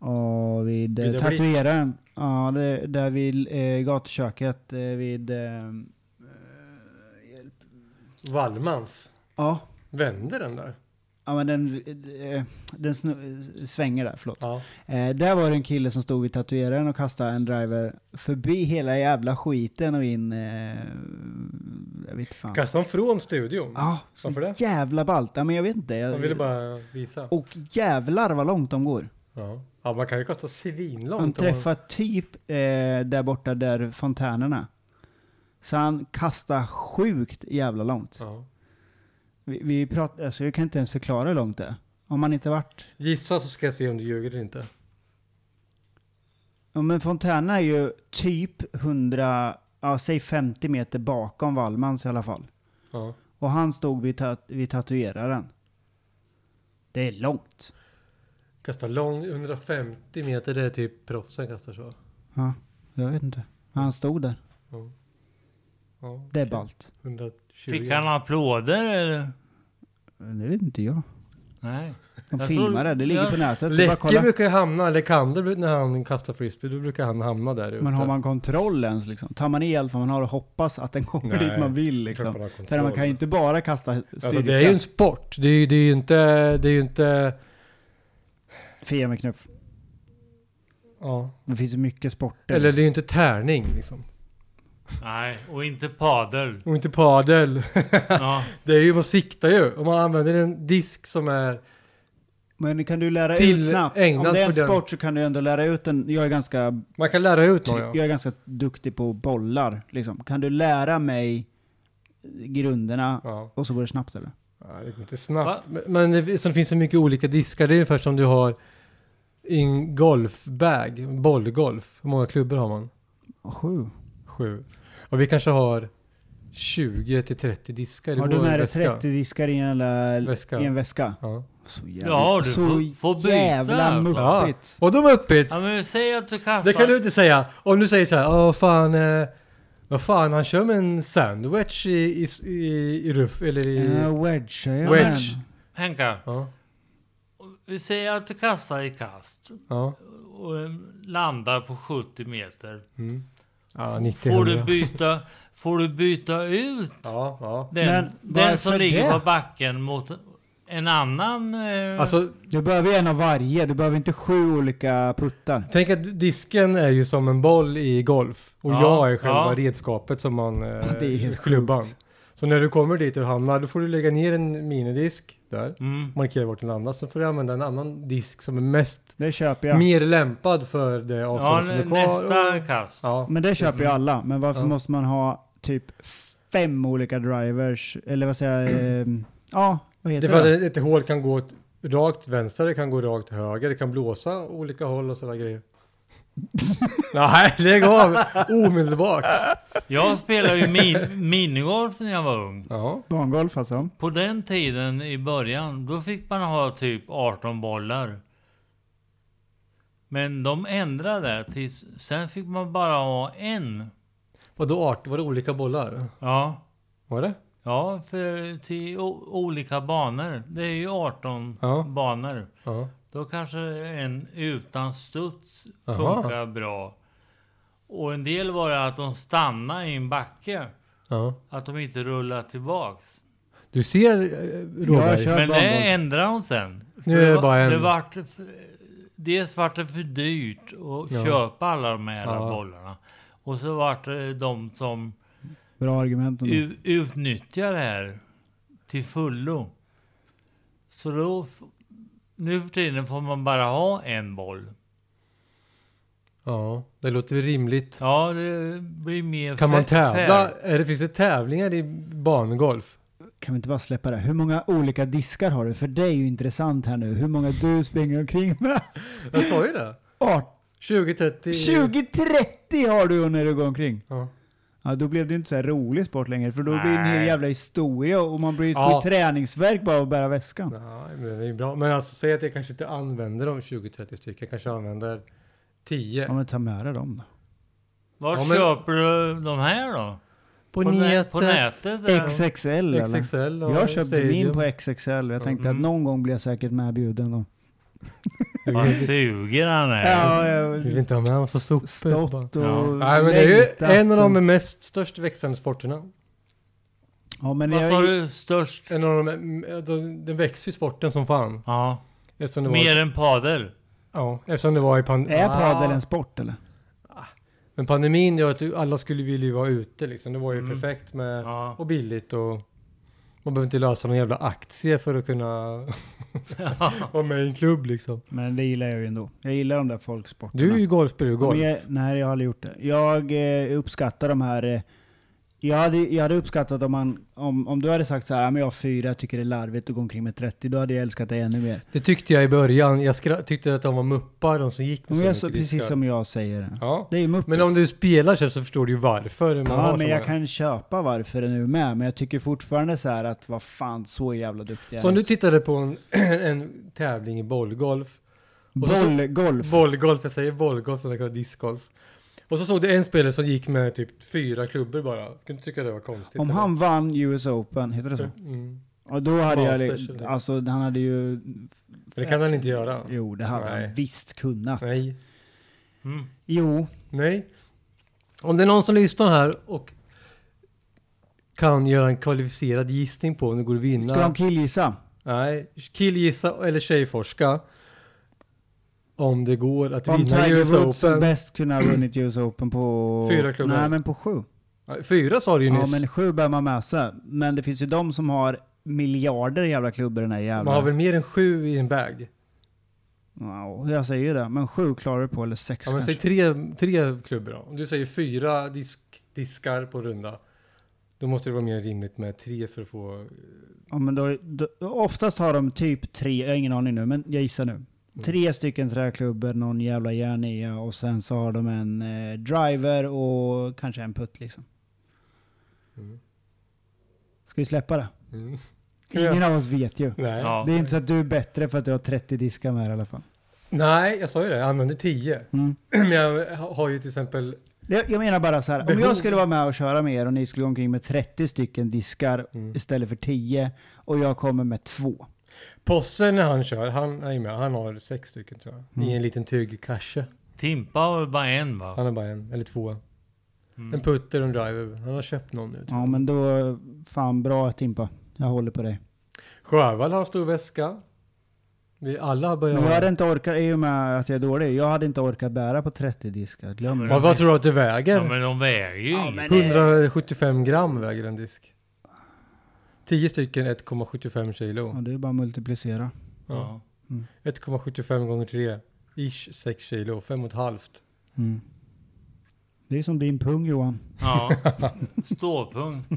ja, vid
Vid
eh,
Övrigt.
tatueraren. Ja, det, där vid eh, gatuköket. eh, Vid... ehm,
Wallmans.
ja.
Vände den där?
Ja men den, eh, den snu- svänger där, förlåt.
Ja.
Eh, där var det en kille som stod vid tatueraren och kastade en driver förbi hela jävla skiten och in... Eh, jag vet inte fan. Ja,
Kastade de från studion?
så
Varför det?
jävla ballt. Ja, men jag vet inte. Jag,
De ville bara visa.
Och jävlar vad långt de går.
Ja. ja, man kan ju kasta
Han
svinlångt. om man-
träffar typ eh, där borta där fontänerna. Så han kastar sjukt jävla långt.
Ja.
Vi, vi pratar, alltså jag kan inte ens förklara hur långt det är. Om man inte varit
Gissa så ska jag se om du ljuger eller inte.
Ja, men Fontana är ju typ 100, ja, säg 50 meter bakom Wallmans i alla fall.
Ja.
Och han stod vid, tat- vid tatueraren. Det är långt.
Kasta lång, 150 meter, det är typ proffsen kastar så.
Ja, jag vet inte. Men Han stod där.
Ja. Ja,
Det är ballt.
120.
Fick han applåder eller?
Det vet inte jag.
Nej.
De
Jag
filmar
tror-
det, det ligger
jag-
på nätet. Det är bara att
Läcke
kolla.
brukar ju hamna, eller Kander bru- när han kastar frisbee, då brukar han hamna där ute.
Men har man kontroll ens liksom? Tar man i allt vad man har och hoppas att den kommer
Nej,
dit man vill
Klart
liksom?
man har
För
kontroll.
man kan ju inte bara kasta
Alltså det är ju en sport. Det är ju, det är ju inte, det är ju inte,
Fia med knuff.
ja.
Det finns ju mycket sporter.
Eller det är ju inte tärning liksom.
Nej, och inte padel.
Och inte padel.
Ja.
Det är ju, man siktar ju. Om man använder en disk som är...
Men kan du lära
Till
ut snabbt? Om
ägnad
det är en
för den-
sport så kan du ändå lära ut den. Jag är ganska,
Man kan lära ut någon,
jag
ja.
är ganska duktig på bollar. Liksom. Kan du lära mig grunderna
ja.
och så går det snabbt eller?
Nej, det går inte snabbt. Men, men det, sen finns det mycket olika diskar. Det är ungefär som du har i en golfbag, en bollgolf. Hur många klubbor har man?
Sju.
Sju. Och vi kanske har 20 till 30 diskar i
Har du
vår
med dig
väska.
30 diskar i en, jävla-
Väska.
I en väska?
Ja.
Så
Ja, du
så
får- får byta,
jävla
alltså.
muppigt.
Och de är uppe
ja men säg att du kastar.
Det kan du inte säga. Om du säger så här, åh fan, eh, vad fan, han kör med en sandwich i, i, i, i ruff, eller i...
Ja, wedge, ja,
Wedge.
men.
Henka,
Ja,
vi säger att du kastar i kast
ja.
och eh, landar på 70 meter.
Mm. Ja, 90
Får du
100.
byta, får du byta ut
Ja, ja.
den,
Men
den som
varför
ligger
det?
på backen mot en annan... eh,
Alltså,
Du behöver en av varje, du behöver inte sju olika puttar.
tänk att disken är ju som en boll i golf. Och
Ja,
jag är själva
ja.
redskapet som man... Eh,
Det är helt
klubban.
sjukt.
Så när du kommer dit och hamnar, då får du lägga ner en minidisk där.
mm.
Markera vart den landar. Sen får du använda en annan disk som är mest...
Det köper jag.
Mer lämpad för det
Ja,
avstånd som är kvar.
nästa
och-
kast.
Ja.
Men det köper ju alla. Men varför
Ja.
måste man ha typ fem olika drivers? Eller vad säger jag? eh, Ja, vad
Det är
heter
för
det?
att ett ett hål kan gå åt rakt vänster, det kan gå rakt höger, det kan blåsa olika håll och sådana grejer. Nej, lägg av omedelbart.
Jag spelade ju min, minigolf när jag var ung.
Ja,
Bangolf alltså?
På den tiden i början, då fick man ha typ 18 bollar. Men de ändrade tills, sen fick man bara ha en.
vadå art? Var det olika bollar?
Ja,
Var det?
ja för till o- olika banor. Det är ju 18
Ja.
banor.
Ja.
Då kanske en utan studs
Aha.
funkar bra. Och en del var det att de stannade i en backe.
ja.
Att de inte rullar tillbaks.
Du ser, eh,
Jag
Råberg.
kör
Men det
bangolf.
ändrade hon sen. För
Nu är det
var-
bara en.
Det vart, f- dels vart det för dyrt att
Ja.
köpa alla de här
Ja.
bollarna. Och så vart det de som
Bra argument.
Mm.
ändå.
u- utnyttjar det här till fullo. Så då, f- nu för tiden får man bara ha en boll.
Ja, det låter väl rimligt.
Ja, det blir mer
Kan man
fa- fair.
tävla? Är det, finns det tävlingar i bangolf?
Kan vi inte bara släppa det? Hur många olika diskar har du? För det är ju intressant här nu. Hur många du springer omkring med?
Jag sa ju det.
18,
20, 30...
20, 30 har du när du går omkring.
Ja.
Ja, då blev det inte så här rolig sport längre. För då blir det en hel
Nej.
jävla historia och man blir
Ja.
ja. träningsverk bara att bära väskan.
Nej, men det är bra. Men alltså säg att jag kanske inte använder de 20-30 stycken. Jag kanske använder 10.
Ja men ta med dig dem då.
Var
Ja, men-
köper du de här då?
På,
nä- På nätet? eller?
XXL eller?
XXL och
Jag köpte min
Stadium.
på XXL. Jag tänkte
Mm.
att någon gång blir jag säkert medbjuden då.
Vad suger han är.
Ja,
Vi vill
jag
inte ha med en massa sopor.
Eh, stått
bara.
och
Ja.
Nej men det är
längtat
ju en av
och-
de mest störst växande sporterna.
Ja men
Vad sa
jag...
du? Störst?
En av de, de- den växer ju sporten som fan.
Ja.
Eftersom det var,
Mer än padel?
ja, eftersom det var i pandemin.
Är padel en sport eller?
Men pandemin gör att du- alla skulle vilja ju vara ute liksom. Det var ju
Mm.
perfekt med,
Ja.
och billigt och man behöver inte lösa någon jävla aktie för att kunna vara med i en klubb liksom.
Men det gillar jag ju ändå. Jag gillar de där folksporterna.
Du är ju golfspelare,
Ja,
golf.
Men jag, nej, jag har aldrig gjort det. Jag eh, uppskattar de här... Eh, jag, hade, jag hade uppskattat om, man, om, om du hade sagt så här, "Ja, men jag har fyra, jag tycker det är larvigt att gå omkring med 30. Då hade jag älskat dig ännu mer.
Det tyckte jag i början. Jag skra- tyckte att de var muppar, de som gick
Men jag, så,
mycket
precis
diskar.
som jag säger.
Ja.
Det är ju mupp.
Men om du spelar sen så förstår du ju varför man har
Ja, men
så
jag
många.
kan köpa varför det nu med. Men jag tycker fortfarande så här att vad fan, så jävla duktig
Så om
jag
du tittade på en, en tävling i bollgolf. och så-
Bollgolf.
Bollgolf, jag säger bollgolf, jag kallar discgolf. Och så såg du en spelare som gick med typ fyra klubbor bara. Skulle du inte tycka det var konstigt?
Om
eller?
han vann US Open, heter det så?
Mm.
Och då hade
Masters
jag...
eller-
Alltså, han hade ju...
Men det kan han inte göra.
Jo, det hade
Nej.
han visst kunnat.
Nej.
Mm.
Jo,
Nej. Om det är någon som lyssnar här och kan göra en kvalificerad gissning på om det går att vinna.
ska de killgissa?
Nej, killgissa eller tjejforska. Om det går att
Om
vinna
Tiger
US
Woods som
Open.
bäst kunde ha vunnit US Open på...
Fyra klubbor.
Nej, men på sju.
Ja, Fyra sa du ju
Ja,
nyss.
men sju bör man med sig. Men det finns ju de som har miljarder jävla klubbor i den här jävla...
Man har väl mer än sju i en bag?
Ja, jag säger ju det. Men sju klarar du på, eller sex
Ja, men säg
kanske.
tre, tre klubbor då. Om du säger fyra disk, diskar på en runda. Då måste det vara mer rimligt med tre för att få...
Ja, men då, då, oftast har de typ tre, jag har ingen aning nu, men jag gissar nu.
Mm.
Tre stycken träklubbor, någon jävla järnia och sen så har de en eh, driver och kanske en putt liksom.
Mm.
Ska vi släppa det?
Mm.
Ingen av oss vet ju.
Nej.
Ja.
Det är inte så att du är bättre för att du har 30 diskar med dig i alla fall.
Nej, jag sa ju det. Jag använder tio.
Mm.
Men jag har ju till exempel...
Jag, jag menar bara så här, om
Behov.
jag skulle vara med och köra med er och ni skulle gå omkring med 30 stycken diskar
Mm.
istället för 10 och jag kommer med två.
Posse när han kör, han är ju med. Han har sex stycken tror jag.
Mm.
I en liten tygkasse.
Timpa har väl bara en va?
Han har bara en, eller två.
Mm.
En putter och en driver. Han har köpt någon nu. tror
Ja
jag.
men då, fan bra Timpa. Jag håller på dig.
Sjövall har en stor väska. Vi alla har börjat...
Men jag hade inte orkat, i och med att jag är dålig, jag hade inte orkat bära på 30 diskar. Glöm
Vad,
det.
vad tror du att du
Ja,
väger?
men de väger ju
Ja,
inget.
men-
175 gram väger en disk. 10 stycken 1,75 kilo.
Ja, det är bara att multiplicera.
Ja.
Mm.
1,75 gånger 3. Ish 6 kilo, fem och ett halvt.
Mm. Det är som din pung Johan.
Ja. Ståpunkt.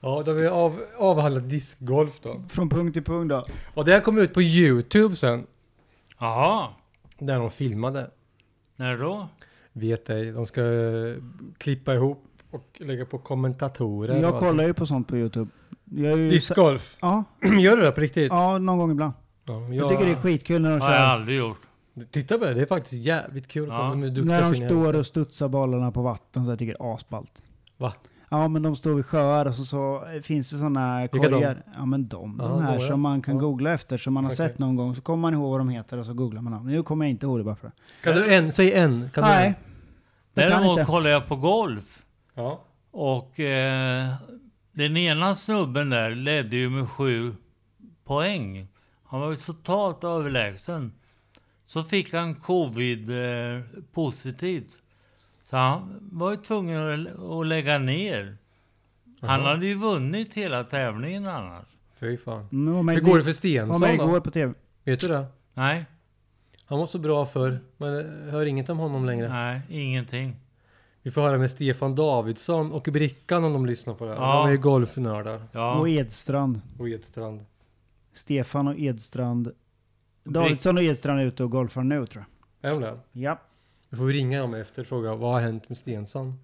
Ja, då har vi av, avhandlat diskgolf då.
Från pung till pung då.
Och det här kom ut på Youtube sen.
Jaha.
Där de filmade.
När då?
Vet ej, de ska eh, klippa ihop och lägga på kommentatorer. och
Jag
allt.
kollar ju på sånt på Youtube. Jag är ju
Discgolf.
Ja,
Gör du det på riktigt?
ja, någon gång ibland.
Ja,
Jag tycker det är skitkul när de
Det har jag
kör.
aldrig gjort.
Titta på det, det är faktiskt jävligt kul.
Ja.
Ja. De är duktiga
När de
för sina-
står och studsar bollarna på vatten så jag tycker det är asballt.
Va?
Ja men de står vid sjöar och så, så finns det sådana
Vilka
korgar. Ja men de,
Ja,
de här
de, ja.
som man kan
Ja.
googla efter som man har
Okej.
sett någon gång. Så kommer man ihåg vad de heter och så googlar man dem. Nu kommer jag inte ihåg det bara för det.
Kan du en? Säg en. Kan
Nej, jag kan
Däremot
inte.
kollar jag på golf.
Du en? Ja.
Och eh, den ena snubben där ledde ju med sju poäng. Han var ju totalt överlägsen. Så fick han covid eh, positivt. Så han var ju tvungen att, att lägga ner. Han
Jaha.
hade ju vunnit hela tävlingen annars.
Fy fan.
Mm, om jag
Hur
gick-
går det för
Om jag
Stensson då?
går på tv.
Vet du det?
Nej,
Han var så bra förr, men jag hör inget om honom längre.
nej, ingenting.
Vi får höra med Stefan Davidsson och Brickan om de lyssnar på det här.
Ja.
De är ju golfnördar.
Ja,
Och Edstrand.
Och Edstrand.
Stefan och Edstrand.
Brick-
Davidsson och Edstrand är ute och golfar nu tror
Är de det?
jag. Ja,
Vi får ringa dem efter och fråga vad har hänt med Stensson?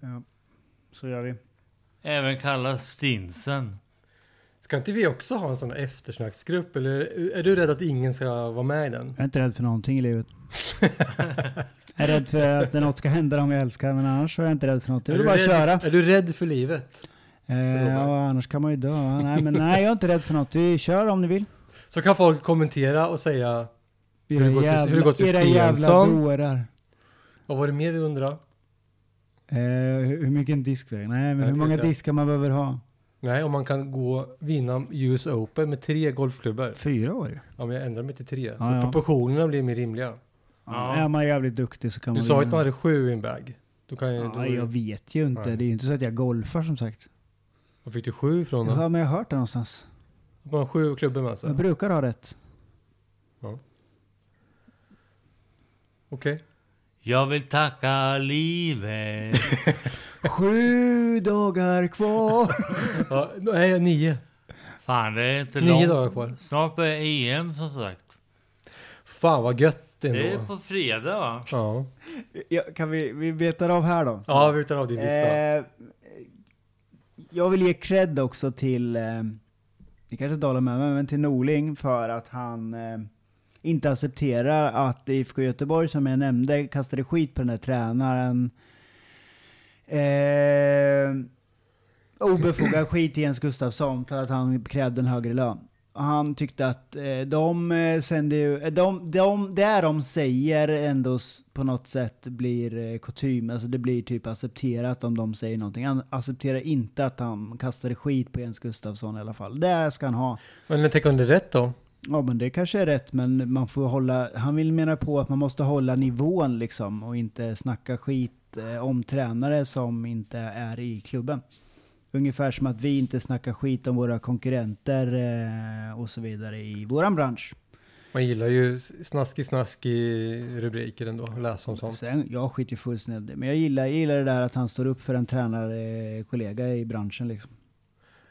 så gör vi.
även kallas Stinsen.
Ska inte vi också ha en sån här eftersnacksgrupp? Eller är du rädd att ingen ska vara med i den?
Jag är inte rädd för någonting i livet. jag är rädd för att något ska hända om jag älskar, men annars så är jag inte rädd för något. Jag
är,
vill
du
bara
rädd,
köra.
är du rädd för livet?
Eh, ja, annars kan man ju dö. va? Nej, men nej, jag är inte rädd för något. Vi kör om ni vill.
Så kan folk kommentera och säga Hur det
Era
gått för- hur det gått för
jävla- Era jävla
Stensson?
dårar.
vad var det mer vi undrar?
Eh, hur hur mycket en disk väger? Nej, men
Nej,
hur
det
många
vet jag.
diskar man behöver ha?
Nej, om man kan gå vinna US Open med tre golfklubbor.
Fyra år ju.
Ja, men jag ändrar mig till tre. så
Ja, ja.
proportionerna blir mer rimliga.
Ja.
Är man jävligt duktig så kan
Du
man
sa ju att man
vinna.
hade sju i en bag. Då kan jag,
Ja,
då,
jag vet ju inte.
Nej.
Det är ju inte så att jag golfar som sagt.
Var fick du sju ifrån då?
Ja, men jag har hört det någonstans.
Att man har sju alltså? klubbor med sig?
Jag
Okej.
brukar ha rätt.
Jag vill tacka livet.
Sju dagar kvar.
Ja, nej, nio.
Fan, det är inte
Nio
långt.
dagar kvar.
Snart börjar EM som sagt.
Fan vad gött
Det är
ändå.
på fredag va?
Ja.
Ja, kan vi, vi betar av här då?
ja, vi tar av din lista.
Eh, jag vill ge cred också till, eh, ni kanske inte håller med mig, men till Norling för att han eh, inte accepterar att IFK Göteborg, som jag nämnde, kastade skit på den där tränaren. Eh, obefogad skit till Jens Gustafsson för att han krävde en högre lön. Och Han tyckte att eh, de eh, sänder ju, eh, de, de, det de säger ändå s- på något sätt blir eh, kutym, alltså det blir typ accepterat om de säger någonting. Han accepterar inte att han kastade skit på Jens Gustafsson i alla fall. Det ska han ha.
Men tänk om det är rätt då?
Ja men det kanske är rätt, men man får hålla, han vill mena på att man måste hålla nivån liksom och inte snacka skit eh, om tränare som inte är i klubben. Ungefär som att vi inte snackar skit om våra konkurrenter eh, och så vidare i våran bransch.
Man gillar ju snaskig snaskig rubriker ändå. Läsa om sånt.
Sen, jag skiter ju fullständigt i det, men jag gillar, jag gillar det där att han står upp för en tränarkollega i branschen liksom.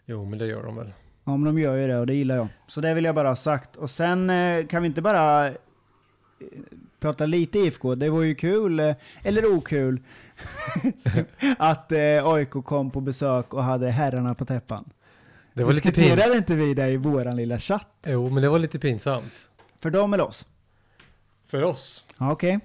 Jo, men det gör de väl.
Ja men de gör ju det och det gillar jag. Så det vill jag bara ha sagt. Och sen eh, kan vi inte bara eh, prata lite IFK? Det var ju kul, eh, eller okul, att eh, AIK kom på besök och hade herrarna på täppan.
Det var lite pinsamt.
Diskuterade inte vi det i våran lilla chatt?
Jo, men det var lite pinsamt.
För dem eller oss?
För oss?
Ja okej.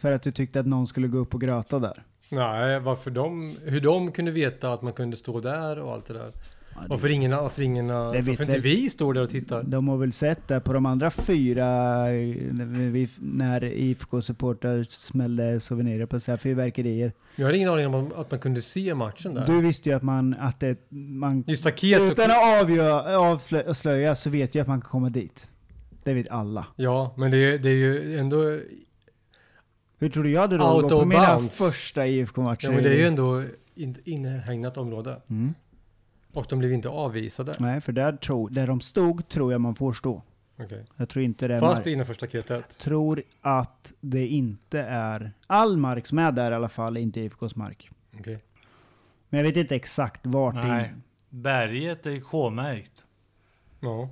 För att du tyckte att någon skulle gå upp och gröta där?
Nej, varför de, hur de kunde veta att man kunde stå där och allt det där.
Ja,
Varför ingen, varför ingen,
Det vet
varför inte
väl-
vi står där och tittar?
De har väl sett det på de andra fyra, eh, när vi- när IFK-supportrar smällde souvenirer på så här fyrverkerier.
Jag hade ingen aning om att man kunde se matchen där.
Du visste ju att man, att det, man
Just staket och...
utan att avgöra, avslöja så vet jag att man kan komma dit. Det vet alla.
Ja, men det är, det är ju ändå...
Hur tror du jag hade
Out
råd att gå på
of
mina
bounds.
första IFK-matcher?
Ja, men det är ju ändå in, inhägnat område.
mm.
Och de blev inte avvisade.
Nej, för där, tro, där de stod tror jag man får stå.
Okej.
Jag tror inte det är
Fast
mark.
innanför staketet.
tror att det inte är all mark som är där i alla fall, inte IFKs mark.
Okej.
Men jag vet inte exakt vart det
Nej.
är.
Berget är K-märkt.
Ja.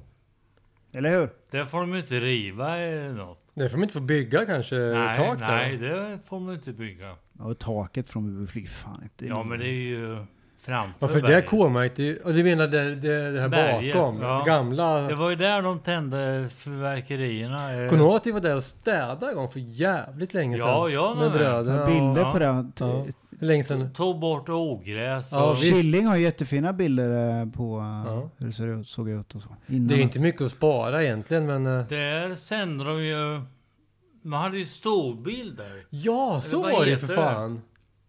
Eller hur?
Det får de ju inte riva eller något.
Det får man inte få bygga kanske
Nej,
tak där.
nej, det får de inte bygga.
Och taket från Bjurby flyger fan inte.
Ja, men det är ju framför
Varför det
berget.
K-märkt? Det är ju- och Du menar det, det, det här
Berget,
bakom?
ja.
Det gamla?
Det var ju där de tände fyrverkerierna. eh.
Kommer du ihåg att vi var där och städade en gång för jävligt länge sedan?
Ja, jag
Med
med.
Jag
bröderna
har bilder
ja,
på det. T-
Ja. Hur länge sedan?
Eh, Tog bort ogräs och...
Ja, visst.
Killing har jättefina bilder eh, på eh,
Ja.
hur det ser ut, såg ut och så. Innan.
Det är ju inte mycket att spara egentligen men... eh,
Där sände de ju... Man hade ju storbild där.
Ja, så
vad
var det ju
heter
för
det?
fan!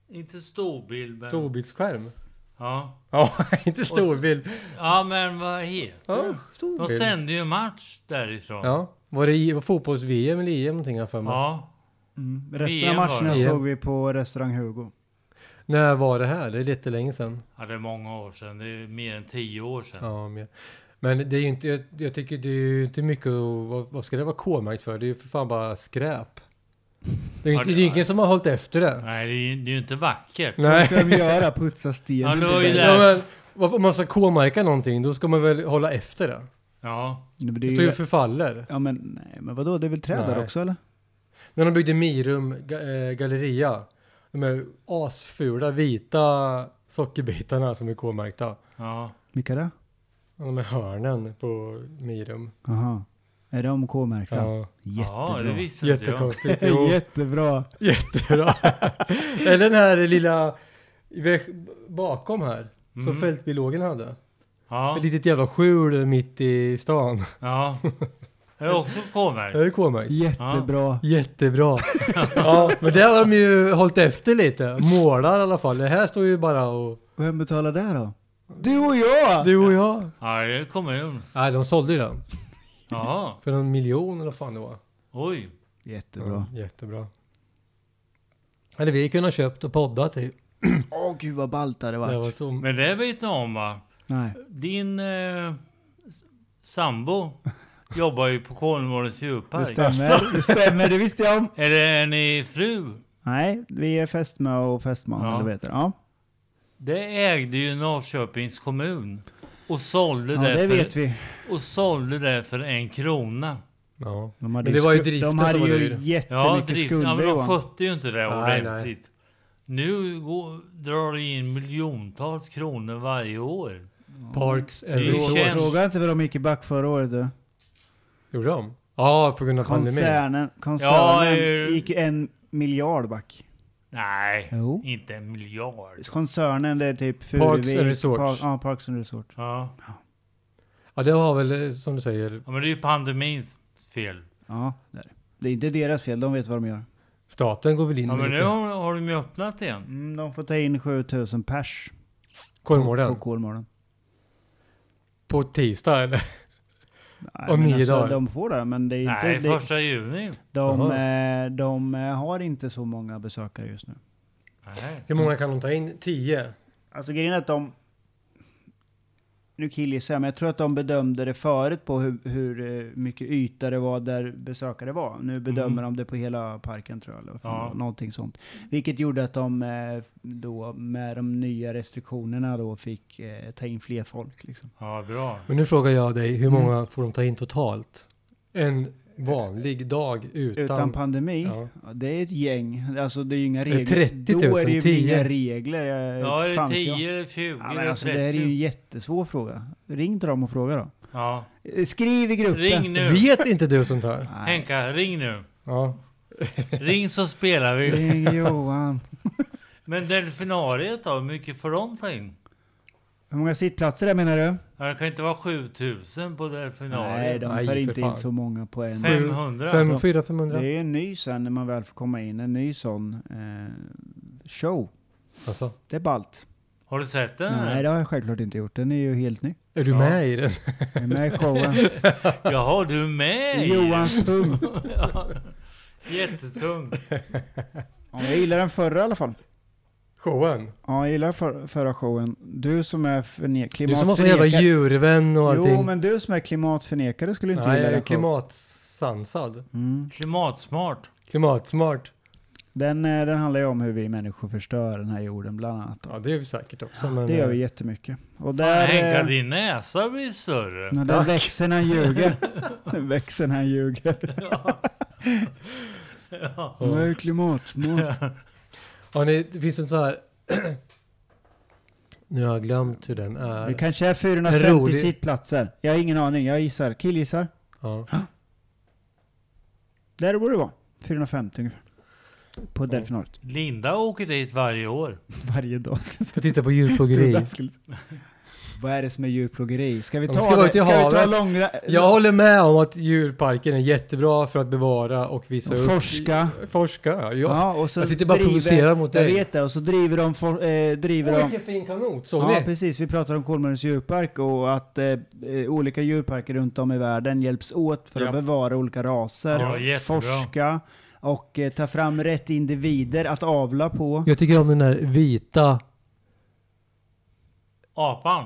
Inte storbild, men...
Storbildsskärm.
Ja.
Ja, inte storbild.
ja, men vad heter
Ja,
det? De
storbild.
sände ju match därifrån.
Ja. Var det i- var fotbolls-VM eller EM någonting jag har för mig?
ja.
Mm. Resten
E
VM
av
var det.
matcherna
VM.
såg vi på restaurang Hugo.
När var det här? Det är lite länge sedan.
Ja, det är många år sedan. Det är mer än tio år sedan.
Ja, men, men det är ju inte, jag, jag tycker det är ju inte mycket att, vad, vad ska det vara K-märkt för? Det är ju för fan bara skräp. Det är ju
Ja,
inte,
det-
det är ingen som har hållit efter det.
Nej, det är ju det är ju inte vackert.
Vad
Nej.
ska de göra? Putsa
Ja,
stenen?
det var ju
Ja, men, vad- om man ska K-märka någonting, då ska man väl hålla efter det.
Ja.
men det
Det
är
står ju
ju...
och förfaller.
Ja men nej, men vadå? Det är väl träd där
Nej.
också eller?
När de byggde Mirum ga- eh, galleria, de här asfula vita sockerbitarna som är K-märkta.
ja.
Vilka det?
De här hörnen på Mirum.
Jaha. Är de K-märkta?
Ja,
Ja, det
Jättebra.
visste inte jag.
jättekonstigt. Jo.
Jättebra.
Jättebra. Eller den här lilla bakom här. Som
Mm.
fältbiologen hade.
Ja.
Ett litet jävla skjul mitt i stan.
ja. Det är också
Det är
K-märkt.
ju K-märkt.
Jättebra.
Jättebra. ja, men där har de ju hållit efter lite. Målar i alla fall. Det här står ju bara och...
Vem betalar det då? Du och jag!
Du och jag.
Ja, det är kommun.
Nej, de sålde ju den.
Jaha.
För en miljon eller vad fan det var.
Oj.
Jättebra.
Ja, jättebra. Eller vi kunde ha köpt och poddat i.
Åh gud vad ballt det hade
Det
varit.
var så...
Men det vet ni om va?
Nej.
Din eh, s- sambo jobbar ju på Kolmårdens
Det
djurpark.
stämmer. Det stämmer, det visste jag om.
Eller är ni fru?
Nej, vi är fästmö och fästman
Ja.
eller vad det heter. Ja,
Det ägde ju Norrköpings kommun. Och sålde,
ja
det,
det
för,
vet vi.
och sålde det för en krona.
Ja.
De hade
Men det var ju
sku-
driften
De
som
hade
var
ju
dyr.
Ja,
jättemycket
drift, ja,
skulder
men de
Johan.
skötte ju inte det
Nej,
ordentligt. Nu går, drar det in miljontals kronor varje år.
Parks
är ju
Resort.
känt.
Fråga inte vad de gick i back förra året du.
Gjorde de? Ja, på grund av pandemin.
Koncernen,
Ja,
koncernen
eh,
gick en miljard back.
Nej,
Jo.
inte en miljard.
Koncernen det är typ
Parks
Furuvik,
and Resorts.
Park- ja, Parks and Resorts.
Ja.
Ja, det har väl eh, som du säger
ja, men det är ju pandemins fel.
Ja, det är det. Det är inte deras fel, de vet vad de gör.
staten går väl in
Ja, men
med
nu
lite.
har, har de ju öppnat igen.
Mm, de får ta in 7000 pers på
Kolmården.
Kolmården.
På tisdag eller?
Nej,
Om
men alltså,
nio dagar.
De får det, men det är inte...
Nej,
det,
första juni.
De,
Jaha.
eh, de eh, har inte så många besökare just nu.
Nej.
Hur många kan de ta in? Tio?
Alltså grejen är att de... Nu killgissar jag, men jag tror att de bedömde det förut på hur, hur eh, mycket yta det var där besökare var. Nu bedömer de det på hela parken tror jag, eller vad fan
Mhm. Ja.
det var, någonting sånt. Vilket gjorde att de eh, då med de nya restriktionerna då fick eh, ta in fler folk. Liksom.
Ja, bra.
Men nu frågar jag dig,
Mm.
hur många får de ta in totalt? En vanlig dag utan...
Utan, pandemi,
Ja.
ja, det är ett gäng. Alltså det är ju inga
Det är
regler.
30 000,
då är det ju
10 000.
inga regler. eh,
Ja, är det
fan vet jag.
10 eller 20
Ja, men
eller
alltså, det här är
30?
ju en jättesvår fråga. Ring till dem och fråga då.
Ja.
Eh, Skriv i gruppen.
Ring nu.
Vet inte du sånt här?
Nej.
Henka, ring nu.
Ja.
Ring så spelar vi.
Ring Johan.
Men delfinariet då, hur mycket får de ta in?
Hur många sittplatser där menar du?
Ja, Det kan inte vara 7000 på det här
Nej,
finalen.
de
Nej,
tar
för
inte in
fan.
så många på en.
Fem.
500.
Fem, fyra, 500?
Det är en ny sen när man väl får komma in, en ny sån eh, show.
Alltså,
Det är ballt.
Har du sett den?
Nej, det har jag självklart inte gjort. Den är ju helt ny.
är du
Ja.
med i den?
Den är med i showen.
Jaha, du är med!
Johans pung.
Jättetung.
Ja, jag gillar den förra i alla fall.
Showen?
Ja, jag gillar för, förra showen. Du som är förne-
Du som var så jävla
klimatförnekare.
djurvän och allting.
Jo, men du som är klimatförnekare skulle inte
Nej,
gilla
jag
den
är
showen.
klimatsansad.
Mm.
Klimatsmart.
Klimatsmart.
Den, eh, den handlar ju om hur vi människor förstör den här jorden bland annat.
Ja, det är vi säkert också. Men,
Det gör vi
eh,
jättemycket. Och
Där,
där...
Henka,
eh,
din näsa blir större.
Men den växer när han ljuger. Den växer när han ljuger.
Ja.
Han är ju klimatsmart.
Ja, nej, det finns en sån här... nu har jag glömt hur den är.
Det kanske är 450
Rolig.
sittplatser. Jag har ingen aning. Jag gissar. Killgissar.
Ja.
Där borde det vara. 450 ungefär. På delfinariet.
Linda åker dit varje år.
Varje dag. ska jag säga.
Får titta på djurplågeri.
Jag skulle- Vad är det som är djurplågeri? Ska vi
Ja,
ta,
vi ska gå
det?
till
Ska vi ta
havet.
långra...
Jag håller med om att djurparken är jättebra för att bevara och visa
Och
upp.
forska.
Forska, ja.
Ja, och så
Jag sitter bara och
driver-
provocerar mot
Jag
dig.
vet det. Och så driver de... For, eh, driver
Oj,
de
vilken fin kanot, såg
Ja,
ni?
precis. Vi pratar om Kolmårdens djurpark och att eh, eh, olika djurparker runt om i världen hjälps åt för
Ja.
att bevara olika
Ja,
raser,
jättebra.
forska och eh, ta fram rätt individer att avla på.
Jag tycker om den där vita...
Apan.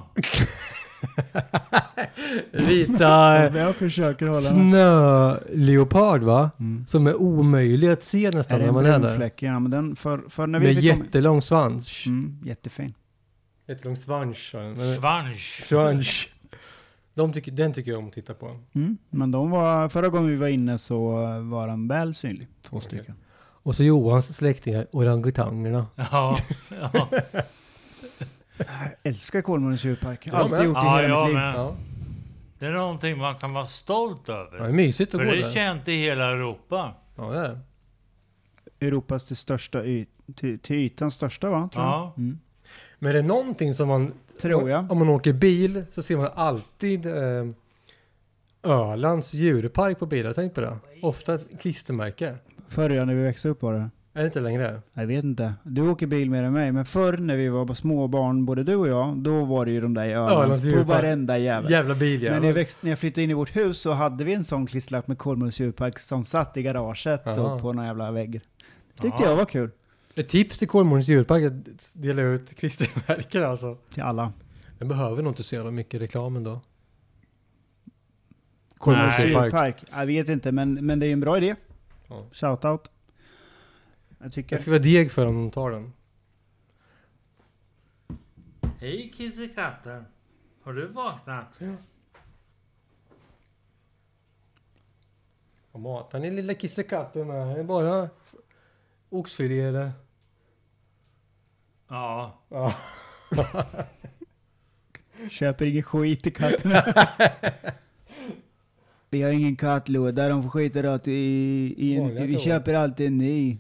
Vita eh,
Jag försöker hålla...
snöleopard va?
Mm.
Som är omöjlig att se
Är
nästan
det
när
en
man är där.
brunfläck? Ja, men den för, för när vi
Med
fick komma-
jättelång svans.
Mm, jättefin.
Jättelång svans. ja. Men-
Svans.
Svans. De tycker, den tycker jag om att titta på.
Mm. Men de var, förra gången vi var inne så var den väl synlig. Två
Okej.
stycken.
Och så Johans släktingar, orangutangerna.
Ja, ja.
Jag älskar Kolmårdens djurpark.
Ja,
Alltid
men-
gjort det i
ja
hela mitt
jag
liv.
med.
Ja.
Det är någonting man kan vara stolt
Ja, det är
över.
mysigt att
För
gå
det är
där.
känt i hela Europa.
Ja, det är det.
Europas till, största y- till, till ytan största va? Tror
Ja.
jag. Mm.
Men är det någonting som man...
Tror jag.
Om man åker bil så ser man alltid eh, Ölands djurpark på bilar. Tänk på det. Ofta ett klistermärke.
Förr när vi växte upp var det.
Är det inte längre?
Jag vet inte. Du åker bil mer än mig, men förr när vi var små barn, både du och jag, då var det ju de där i
Ölands
Ölands på
djurpark.
varenda jävel.
Jävla
När, jag
biljävel.
växt, när jag flyttade in i vårt hus så hade vi en sån klisterlapp med Kolmårdens djurpark som satt i garaget
Aha.
så på någon jävla vägg. Det tyckte
Aha.
jag var kul.
Ett tips till Kolmårdens djurpark är att dela ut klistermärken alltså.
Till alla.
Den behöver nog inte så jävla mycket reklam ändå.
Kolmårdens
Nej.
djurpark.
djurpark. Jag vet inte, men, men det är ju en bra idé.
Ja.
Shoutout. Jag tycker...
Jag ska vara deg för om de tar den.
Hej kissekatten. Har du vaknat?
Och matar ni lilla kissekatten med? Är det bara oxfilé eller?
Ja.
Ja.
Köper ingen skit till katterna. vi har ingen kattlåda, de får skita rakt i, i
Vanliga
en, Vi
lådor.
köper alltid en ny.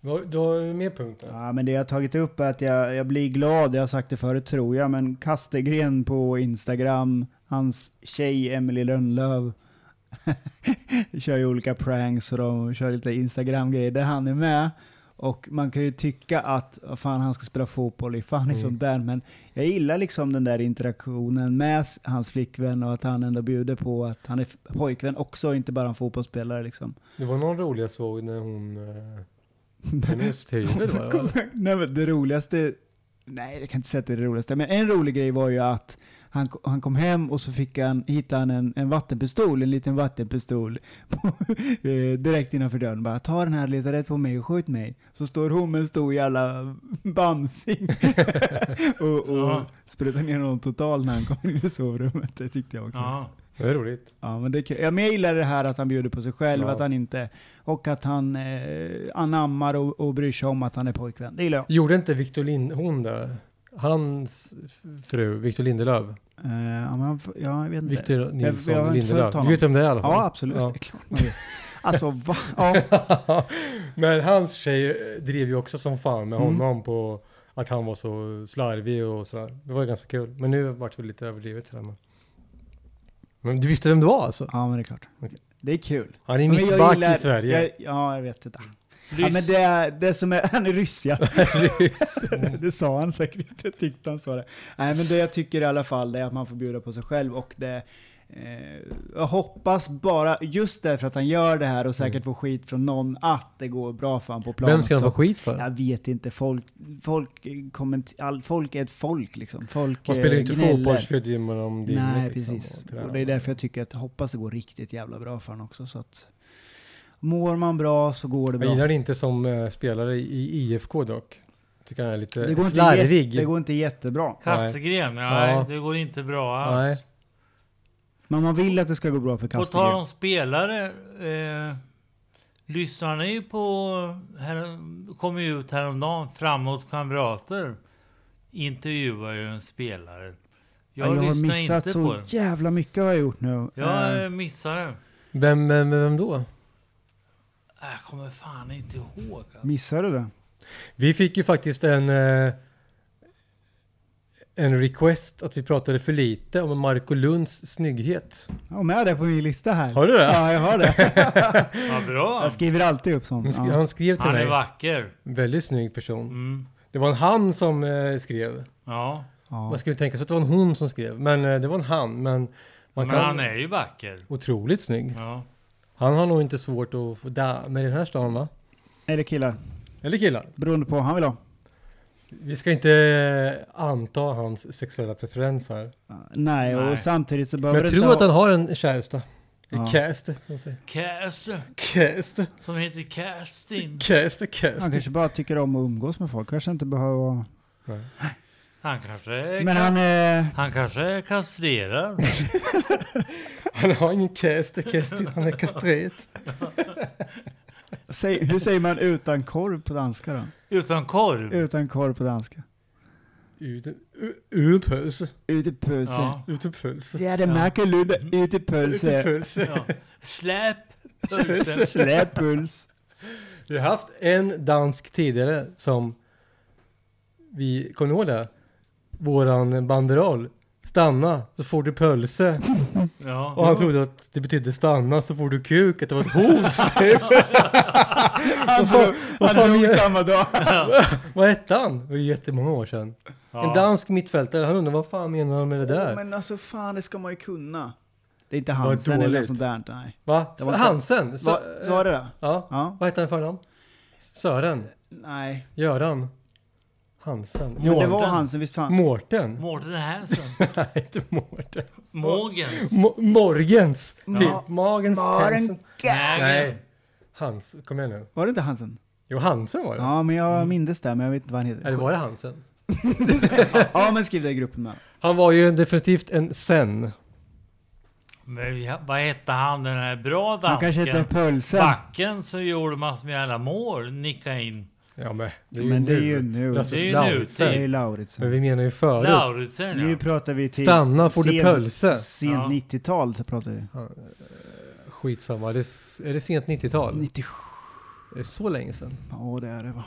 Du har- Du har mer punkter?
Ja, men det jag har tagit upp är att jag, jag blir glad, jag har sagt det förut tror jag, men Kastegren på Instagram, hans tjej Emily Rönnlöv kör ju olika pranks och de kör lite Instagram-grejer där han är med. Och man kan ju tycka att "Vad fan han ska spela fotboll i, fan i sånt där. Men jag gillar liksom den där interaktionen med s- hans flickvän och att han ändå bjuder på att han är f- pojkvän också, inte bara en fotbollsspelare liksom.
Det var någon rolig jag såg när hon... eh, Hennes husthyvel var det va?
Nej, men det roligaste, nej jag kan inte säga att det är det roligaste, men en rolig grej var ju att han, han kom hem och så fick han, hittade han en, en vattenpistol, en liten vattenpistol, på, eh, direkt innanför dörren. Bara ta den här, leta rätt på mig och skjut mig. Så står hon med en stor jävla bamsing och, och
Ja.
sprutar ner honom totalt när han kommer in i sovrummet. Det tyckte jag var kul.
ja.
Det är roligt.
Ja, men det är kul. Ja, men jag gillar det här att han bjuder på sig själv,
Ja.
att han inte... Och att han eh, anammar och, och bryr sig om att han är pojkvän. Det gillar jag.
Gjorde inte Victor Lind... Hon där? Hans fru, Victor Lindelöf.
Eh, ja, men, han f- ja, jag vet inte.
Victor Nilsson
jag har inte följt
Lindelöf. Du
honom.
vet om det är i alla fall?
Ja, absolut. Det är klart man vet. Alltså, va? Ja.
Men hans tjej eh, drev ju också som fan med
Mm.
honom på Att han var så slarvig och sådär. Det var ju ganska kul. Men nu vart det lite överdrivet sådär. Men... men du visste vem det var alltså?
Ja, men det är klart.
Okej.
Det är kul.
Han är
Men jag
mittback
gillar-
i Sverige.
Jag, ja, jag vet inte. Ja,
Lys-
men det, det som är, han är ryss ja. det sa han säkert inte, jag tyckte han sa det. Nej men det jag tycker i alla fall det är att man får bjuda på sig själv och det, eh, jag hoppas bara, just därför att han gör det här och säkert får skit från någon, att det går bra för honom på plan
Mm. Vem ska han få
också.
skit för?
Jag vet inte, folk, folk, eh, komment, all, folk är ett folk liksom. Folk
Man spelar ju
eh,
inte
gnäller.
fotboll för gymmen om det är
Nej,
inget, liksom,
precis.
och tränar.
Och det är därför jag tycker att jag hoppas det går riktigt jävla bra för honom också. Så att, mår man bra så går det
Jag
bra.
gillar det inte som eh, spelare i IFK dock. Tycker han är lite
Det går, inte
slarvig.
jätte, det går inte jättebra.
Kastegren, nej.
Ja.
Det går inte bra alls.
Nej.
Men man vill att det ska gå bra för
På tal
Kastegren.
om spelare. Eh, lyssnar ni på, här, kom ju ut häromdagen, Framåt Kamrater intervjuar ju en spelare. Jag,
Jag, jag har
lyssnar
missat
inte på
så
den.
jävla mycket har jag gjort nu.
Jag
Eh,
eh, missar den.
Vem, vem, vem då?
Jag kommer fan inte ihåg. Alltså.
Missade du det?
Vi fick ju faktiskt en, eh, en request att vi pratade för lite om Marco Lunds snygghet.
Jag har med det på min lista här.
Har du det?
Ja, jag har det.
Ja, bra.
Jag skriver alltid upp
Han
sånt.
sk-
Ja.
Han skrev till
Han är
mig.
vacker.
Väldigt snygg person.
Mm.
Det var en han som eh, skrev.
Ja,
Ja.
Man skulle tänka sig att det var en hon som skrev. Men eh, det var en han. Men man
men
kan...
han är ju vacker.
Otroligt snygg.
Ja.
Han har nog inte svårt att få där med den här stan va?
Eller killar.
Eller killar.
Beroende på vad han vill ha.
Vi ska inte eh, anta hans sexuella preferens här.
Nej,
Nej.
och samtidigt så
Men
behöver
jag
du inte
tror att
ha...
han har en käresta. En
Ja.
Cast. som man säger.
Cass,
Cast.
som heter Kerstin.
Cast.
Han
Cast.
kanske bara tycker om att umgås med folk. Kanske inte behöver...
Nej.
Han kanske är,
Men han... Eh,
han kanske är kastrerad.
Han har ingen cast. Cast. Han är kastret.
säg, hur säger man utan korv på danska då?
Utan korv.
Utan korv på danska.
Ute- u- Ur puls.
Utepölse.
Ja.
Ute puls.
Ja, det märker Ludde.
Mm-hmm. Ute
Utepölse.
puls.
Ja. Släpp pulsen.
Släpuls.
Vi har haft en dansk tidigare som vi, kommer ni ihåg det? Våran banderoll. Stanna så får du pölse. Och
Ja.
han trodde att det betydde stanna så får du kuk, att det var ett hot. typ.
Han
fan-
drog,
vad
han
fan
drog
gör-
samma dag.
vad hette han? Det var ju jättemånga år sedan. En
Ja.
dansk mittfältare, han undrar vad fan menar han med det där?
Men alltså fan, det ska man ju kunna. Det är inte
Vad
Hansen eller något
dåligt. eh,
sånt där. Nej.
Va?
Det var inte-
Hansen?
Va,
Sö-
så var det då?
Ja,
Ja.
vad hette han för namn? Sören?
Nej.
Göran? Hansen?
Men det var
Mårten?
Hansen, visst fan.
Mårten?
Mårten Hansen.
Nej, inte Mårten.
Mågen.
Mo- Morgens!
Ja.
Typ. Magens Hansen.
Maren
Nej.
Nej.
Hans, kom igen nu.
Var det inte Hansen?
Jo, Hansen var det.
Ja, men jag
Mm.
mindes det, men jag vet inte vad han
Eller
heter.
var det Hansen?
Ja, men skriv det i gruppen med.
Han var ju definitivt en sen.
Men ja, vad hette han den här bra
Han kanske heter
dansken?
Pölsen.
Backen som gjorde massor med alla mål. Nicka in.
Ja, men det är ju
Men det är
nu.
ju nu.
Rasmus
Det är ju
Lauritsen.
Det är
nutid.
ju
Men
Lauritsen.
vi menar ju förut.
Lauritsen
Nu
ja.
pratar vi till...
Stanna får du
sen-
pölse.
Sent
Ja.
90-tal så pratar vi.
Skitsamma, det är, s- är det sent 90-tal?
97,
Det är så länge sedan.
ja det är det va.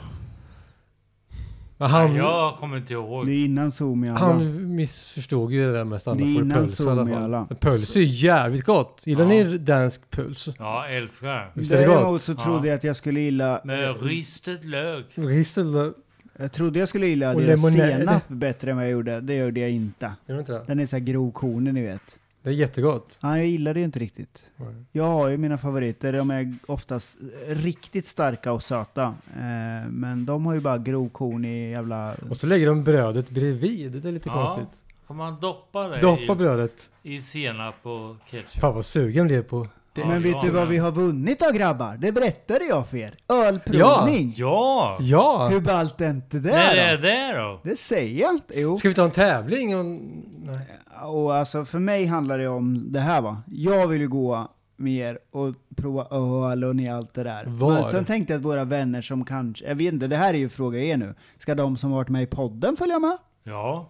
Men han,
Jag kommer inte
Det
ihåg.
är innan Zoom i alla.
han missförstod ju det där med att stanna
Det är
får du
innan
puls i alla
Zoom i
fall.
alla.
Men puls är ju jävligt gott. Gillar
Ja.
ni dansk puls?
Ja, älskar.
Visst är det gott?
Däremot så trodde jag att jag skulle gilla...
Med ristet lök.
Ristel, gör
Jag trodde jag skulle gilla
Och
deras
lemonade.
senap bättre än vad jag gjorde. Det gjorde jag inte.
du inte det?
Den är så här grovkornig ni vet.
Det är jättegott.
Nej, jag gillar det ju inte riktigt.
Nej.
Jag har ju mina favoriter. De är oftast riktigt starka och söta. Eh, men de har ju bara grovkornig jävla...
Och så lägger de brödet bredvid. Det är lite
Ja.
konstigt.
Kan man doppa det
Doppa
i,
brödet.
i senap och ketchup?
Fan vad sugen jag blev på.
Ja,
men vet
ja,
du vad
men-
vi har vunnit då grabbar? Det berättade jag för er. Ölprovning!
Ja!
Ja!
Hur ballt är inte det
När är
då?
det då?
Det säger jag inte. Jo.
Ska vi ta en tävling? Och... Nej.
Och alltså för mig handlar det om det här va. Jag vill ju gå med er och prova öl och ni allt det där.
Var?
Men sen tänkte jag att våra vänner som kanske, jag vet inte, det här är ju fråga er nu. Ska de som varit med i podden följa med?
Ja,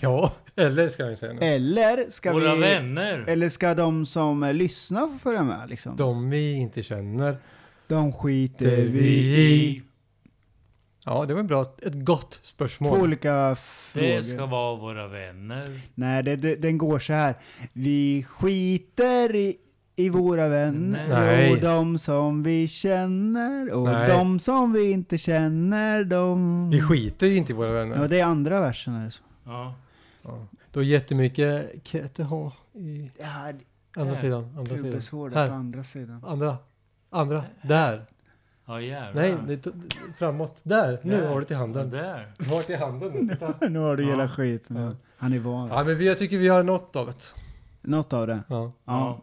Ja, eller ska jag säga nu.
Eller ska
våra
vi...
vänner.
Eller ska de som eh, lyssnar få följa med liksom? De,
De vi inte känner.
skiter vi i.
Ja, det var bra. Ett gott
Två
spörsmål.
olika
Det
frågor.
ska vara våra vänner.
Nej, det, det, den går så här. Vi skiter i, i våra vänner
Nej.
och de som vi känner och
Nej.
de som vi inte känner. De...
Vi skiter ju inte i våra vänner.
Ja, det är andra versen. Är det så?
Ja.
Ja. Du har jättemycket KTH i
Ja,
andra
Där.
sidan. Andra sidan.
pubeshåret
Här.
på andra sidan.
Andra. Andra. Där.
Ja jävlar.
Nej, det är t- framåt. Där. Nu
Där.
har du till handen.
Ja, där.
Du har till handen nu. Titta.
Nu har du
Ja.
hela skiten.
Ja.
Han är van.
Ja, men vi- jag tycker vi har något av det.
Något av det.
Ja.
Ja.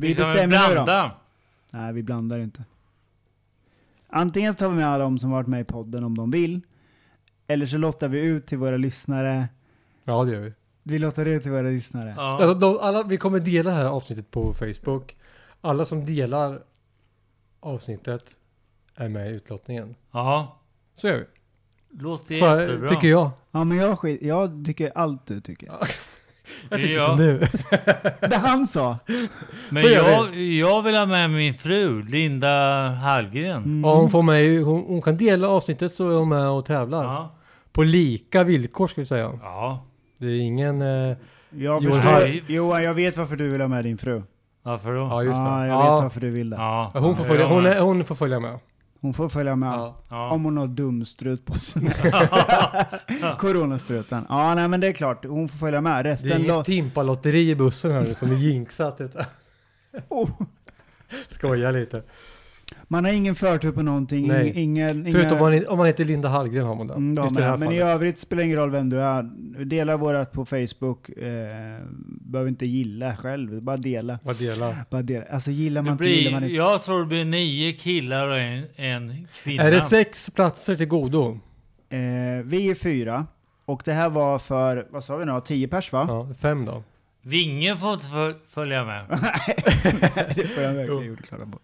Vi,
kan väl
bestämmer nu då.
blanda.
Nej, vi blandar inte. Antingen tar vi med alla de som varit med i podden om de vill. Eller så lottar vi ut till våra lyssnare.
Ja, det gör vi.
Vi lottar ut till våra lyssnare.
Ja.
Alltså, de, alla, vi kommer dela det här avsnittet på Facebook. Alla som delar avsnittet är med i utlottningen.
ja.
Så gör vi.
Låter
Så eh,
jättebra.
tycker jag.
Ja men jag, skit, jag tycker allt du tycker.
Jag tycker
Ja.
som du.
Det han sa!
Men
Så gör
jag, jag vill ha med min fru, Linda Hallgren.
Ja, hon, får med, hon, hon kan dela avsnittet så är hon med och tävlar.
Ja.
På lika villkor ska vi säga.
ja.
Det är ingen... Eh,
Jag
Johan,
förstår.
hej.
Johan, jag vet varför du vill ha med din fru.
Varför då?
ja, just det.
Ja, jag vet
Ja,
varför du vill det.
Ja.
Ja, hon, får följa,
Ja,
hon,
men-
är, hon får följa med.
Hon får följa med.
Ja.
Ja.
Om hon har dumstrut på sig. Coronastruten. Ja, nej men det är klart. Hon får följa med.
Det är
Resten
inget
då.
timpalotteri i bussen här nu som är jinxat. utan-
Oh.
Skojar lite.
Man har ingen förtur på någonting.
Nej.
Ingen, ingen,
Förutom om man, om man heter Linda Hallgren har man det.
Mm, då,
just i det här
men, men i
fallet.
övrigt spelar det ingen roll vem du är. Dela vårat på Facebook. Eh, behöver inte gilla själv, bara dela.
Vad delar.
Bara dela. Alltså gillar man
Det
inte gillar man
blir,
inte.
jag tror det blir nio killar och en, en kvinna.
Är det sex platser till godo?
Eh, vi är fyra. Och det här var för, vad sa vi nu, tio pers va?
Ja, fem då.
Vinge får inte föl- följa med.
det får jag verkligen jordklara på.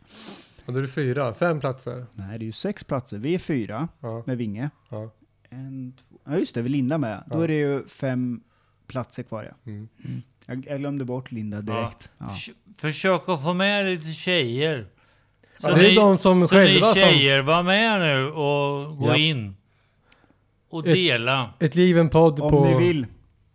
Och då är det fyra. Fem platser.
Nej, det är ju sex platser. Vi är fyra
Ja,
med Vinge.
ja.
En, två, ja just det, vi Linda med. Då
Ja.
är det ju fem platser kvar ja.
Mm.
Jag, jag glömde bort Linda direkt. Ja.
Förs- Försök att få med lite tjejer.
Ja, det är de som
så
själva
ni
som-
tjejer, var med nu och gå
Ja.
in. Och
Ett-
dela.
Ett liv, en podd
Om
på...
ni vill.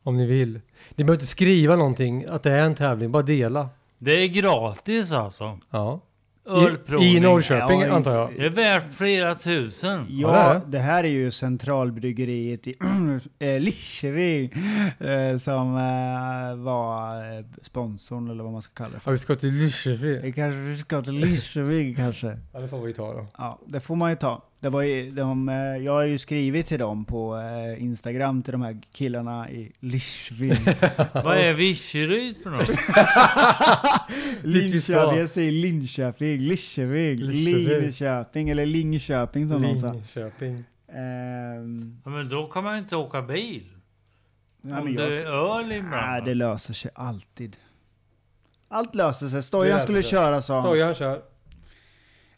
Om ni vill. Ni behöver inte skriva någonting att det är en tävling. Bara dela.
Det är gratis alltså.
Ja. I,
Ölprovning.
I Norrköping
Ja, i-
antar jag.
Det är värt flera tusen.
Ja,
det är det.
det här är ju centralbryggeriet i eh, Lidköping eh, som eh, var eh, sponsorn eller vad man ska kalla det
Ja,
för.
vi ska till Lysekil.
Det kanske vi ska till Lidköping kanske.
Ja, det får vi ta då.
Ja, det får man ju ta. Det var ju, de, eh, jag har ju skrivit till dem på eh, Instagram, till de här killarna i Lidköping.
Vad är Vicheryd för något?
Dit vi ska.
Linköping, jag säger Linköping, Lidköping,
Lidköping.
Linköping eller Lingköping som de sa.
Linköping.
Ehm,
Ja, men då kan man ju inte åka bil.
nej, men
Om
jag
det är öl
Nej,
inblandat.
det löser sig alltid. Allt löser sig. Stojan
Det
skulle
löser sig.
köra sa han.
Stojan kör.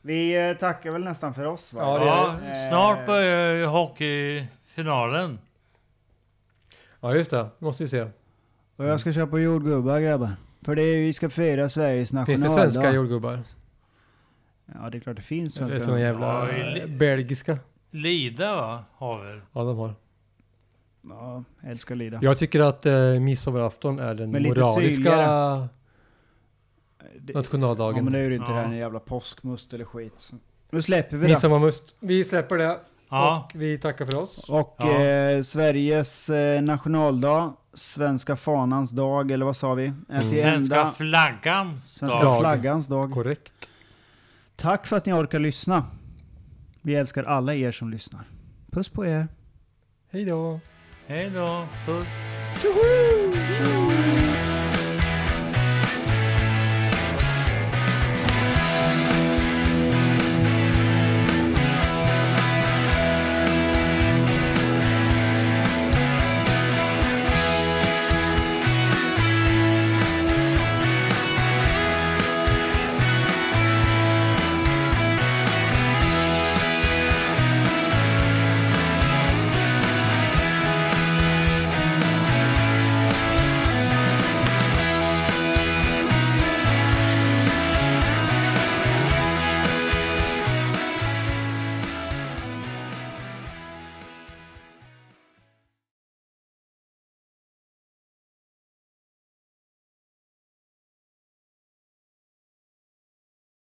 Vi eh, tackar väl nästan för oss va?
Ja, det
Ja,
är det. Eh.
snart börjar ju hockeyfinalen.
Ja, just det. Måste vi se.
Och jag ska köpa jordgubbar grabbar. För det är, vi ska fira Sveriges
Finns
nationaldag.
det svenska jordgubbar?
Ja, det är klart det finns
Det är
svenska.
såna jävla
Ja, i-
belgiska.
Lida va? Har väl?
Ja, de har.
Ja, älskar Lida.
Jag tycker att eh, midsommarafton är den
Men lite
moraliska
syrligare. det, ja,
nationaldagen.
men det är ju inte
Ja.
det här en jävla påskmust eller skit. Nu släpper vi det.
Midsommarmust. Vi släpper det.
Ja.
Och vi tackar för oss.
Och
Ja.
eh, Sveriges eh, nationaldag, svenska fanans dag, eller vad sa vi? Mm.
Svenska flaggans
Svenska
dag.
flaggans dag.
Korrekt.
Tack för att ni orkar lyssna. Vi älskar alla er som lyssnar. Puss på er.
Hej då.
Hej då. Puss.
Tjoho!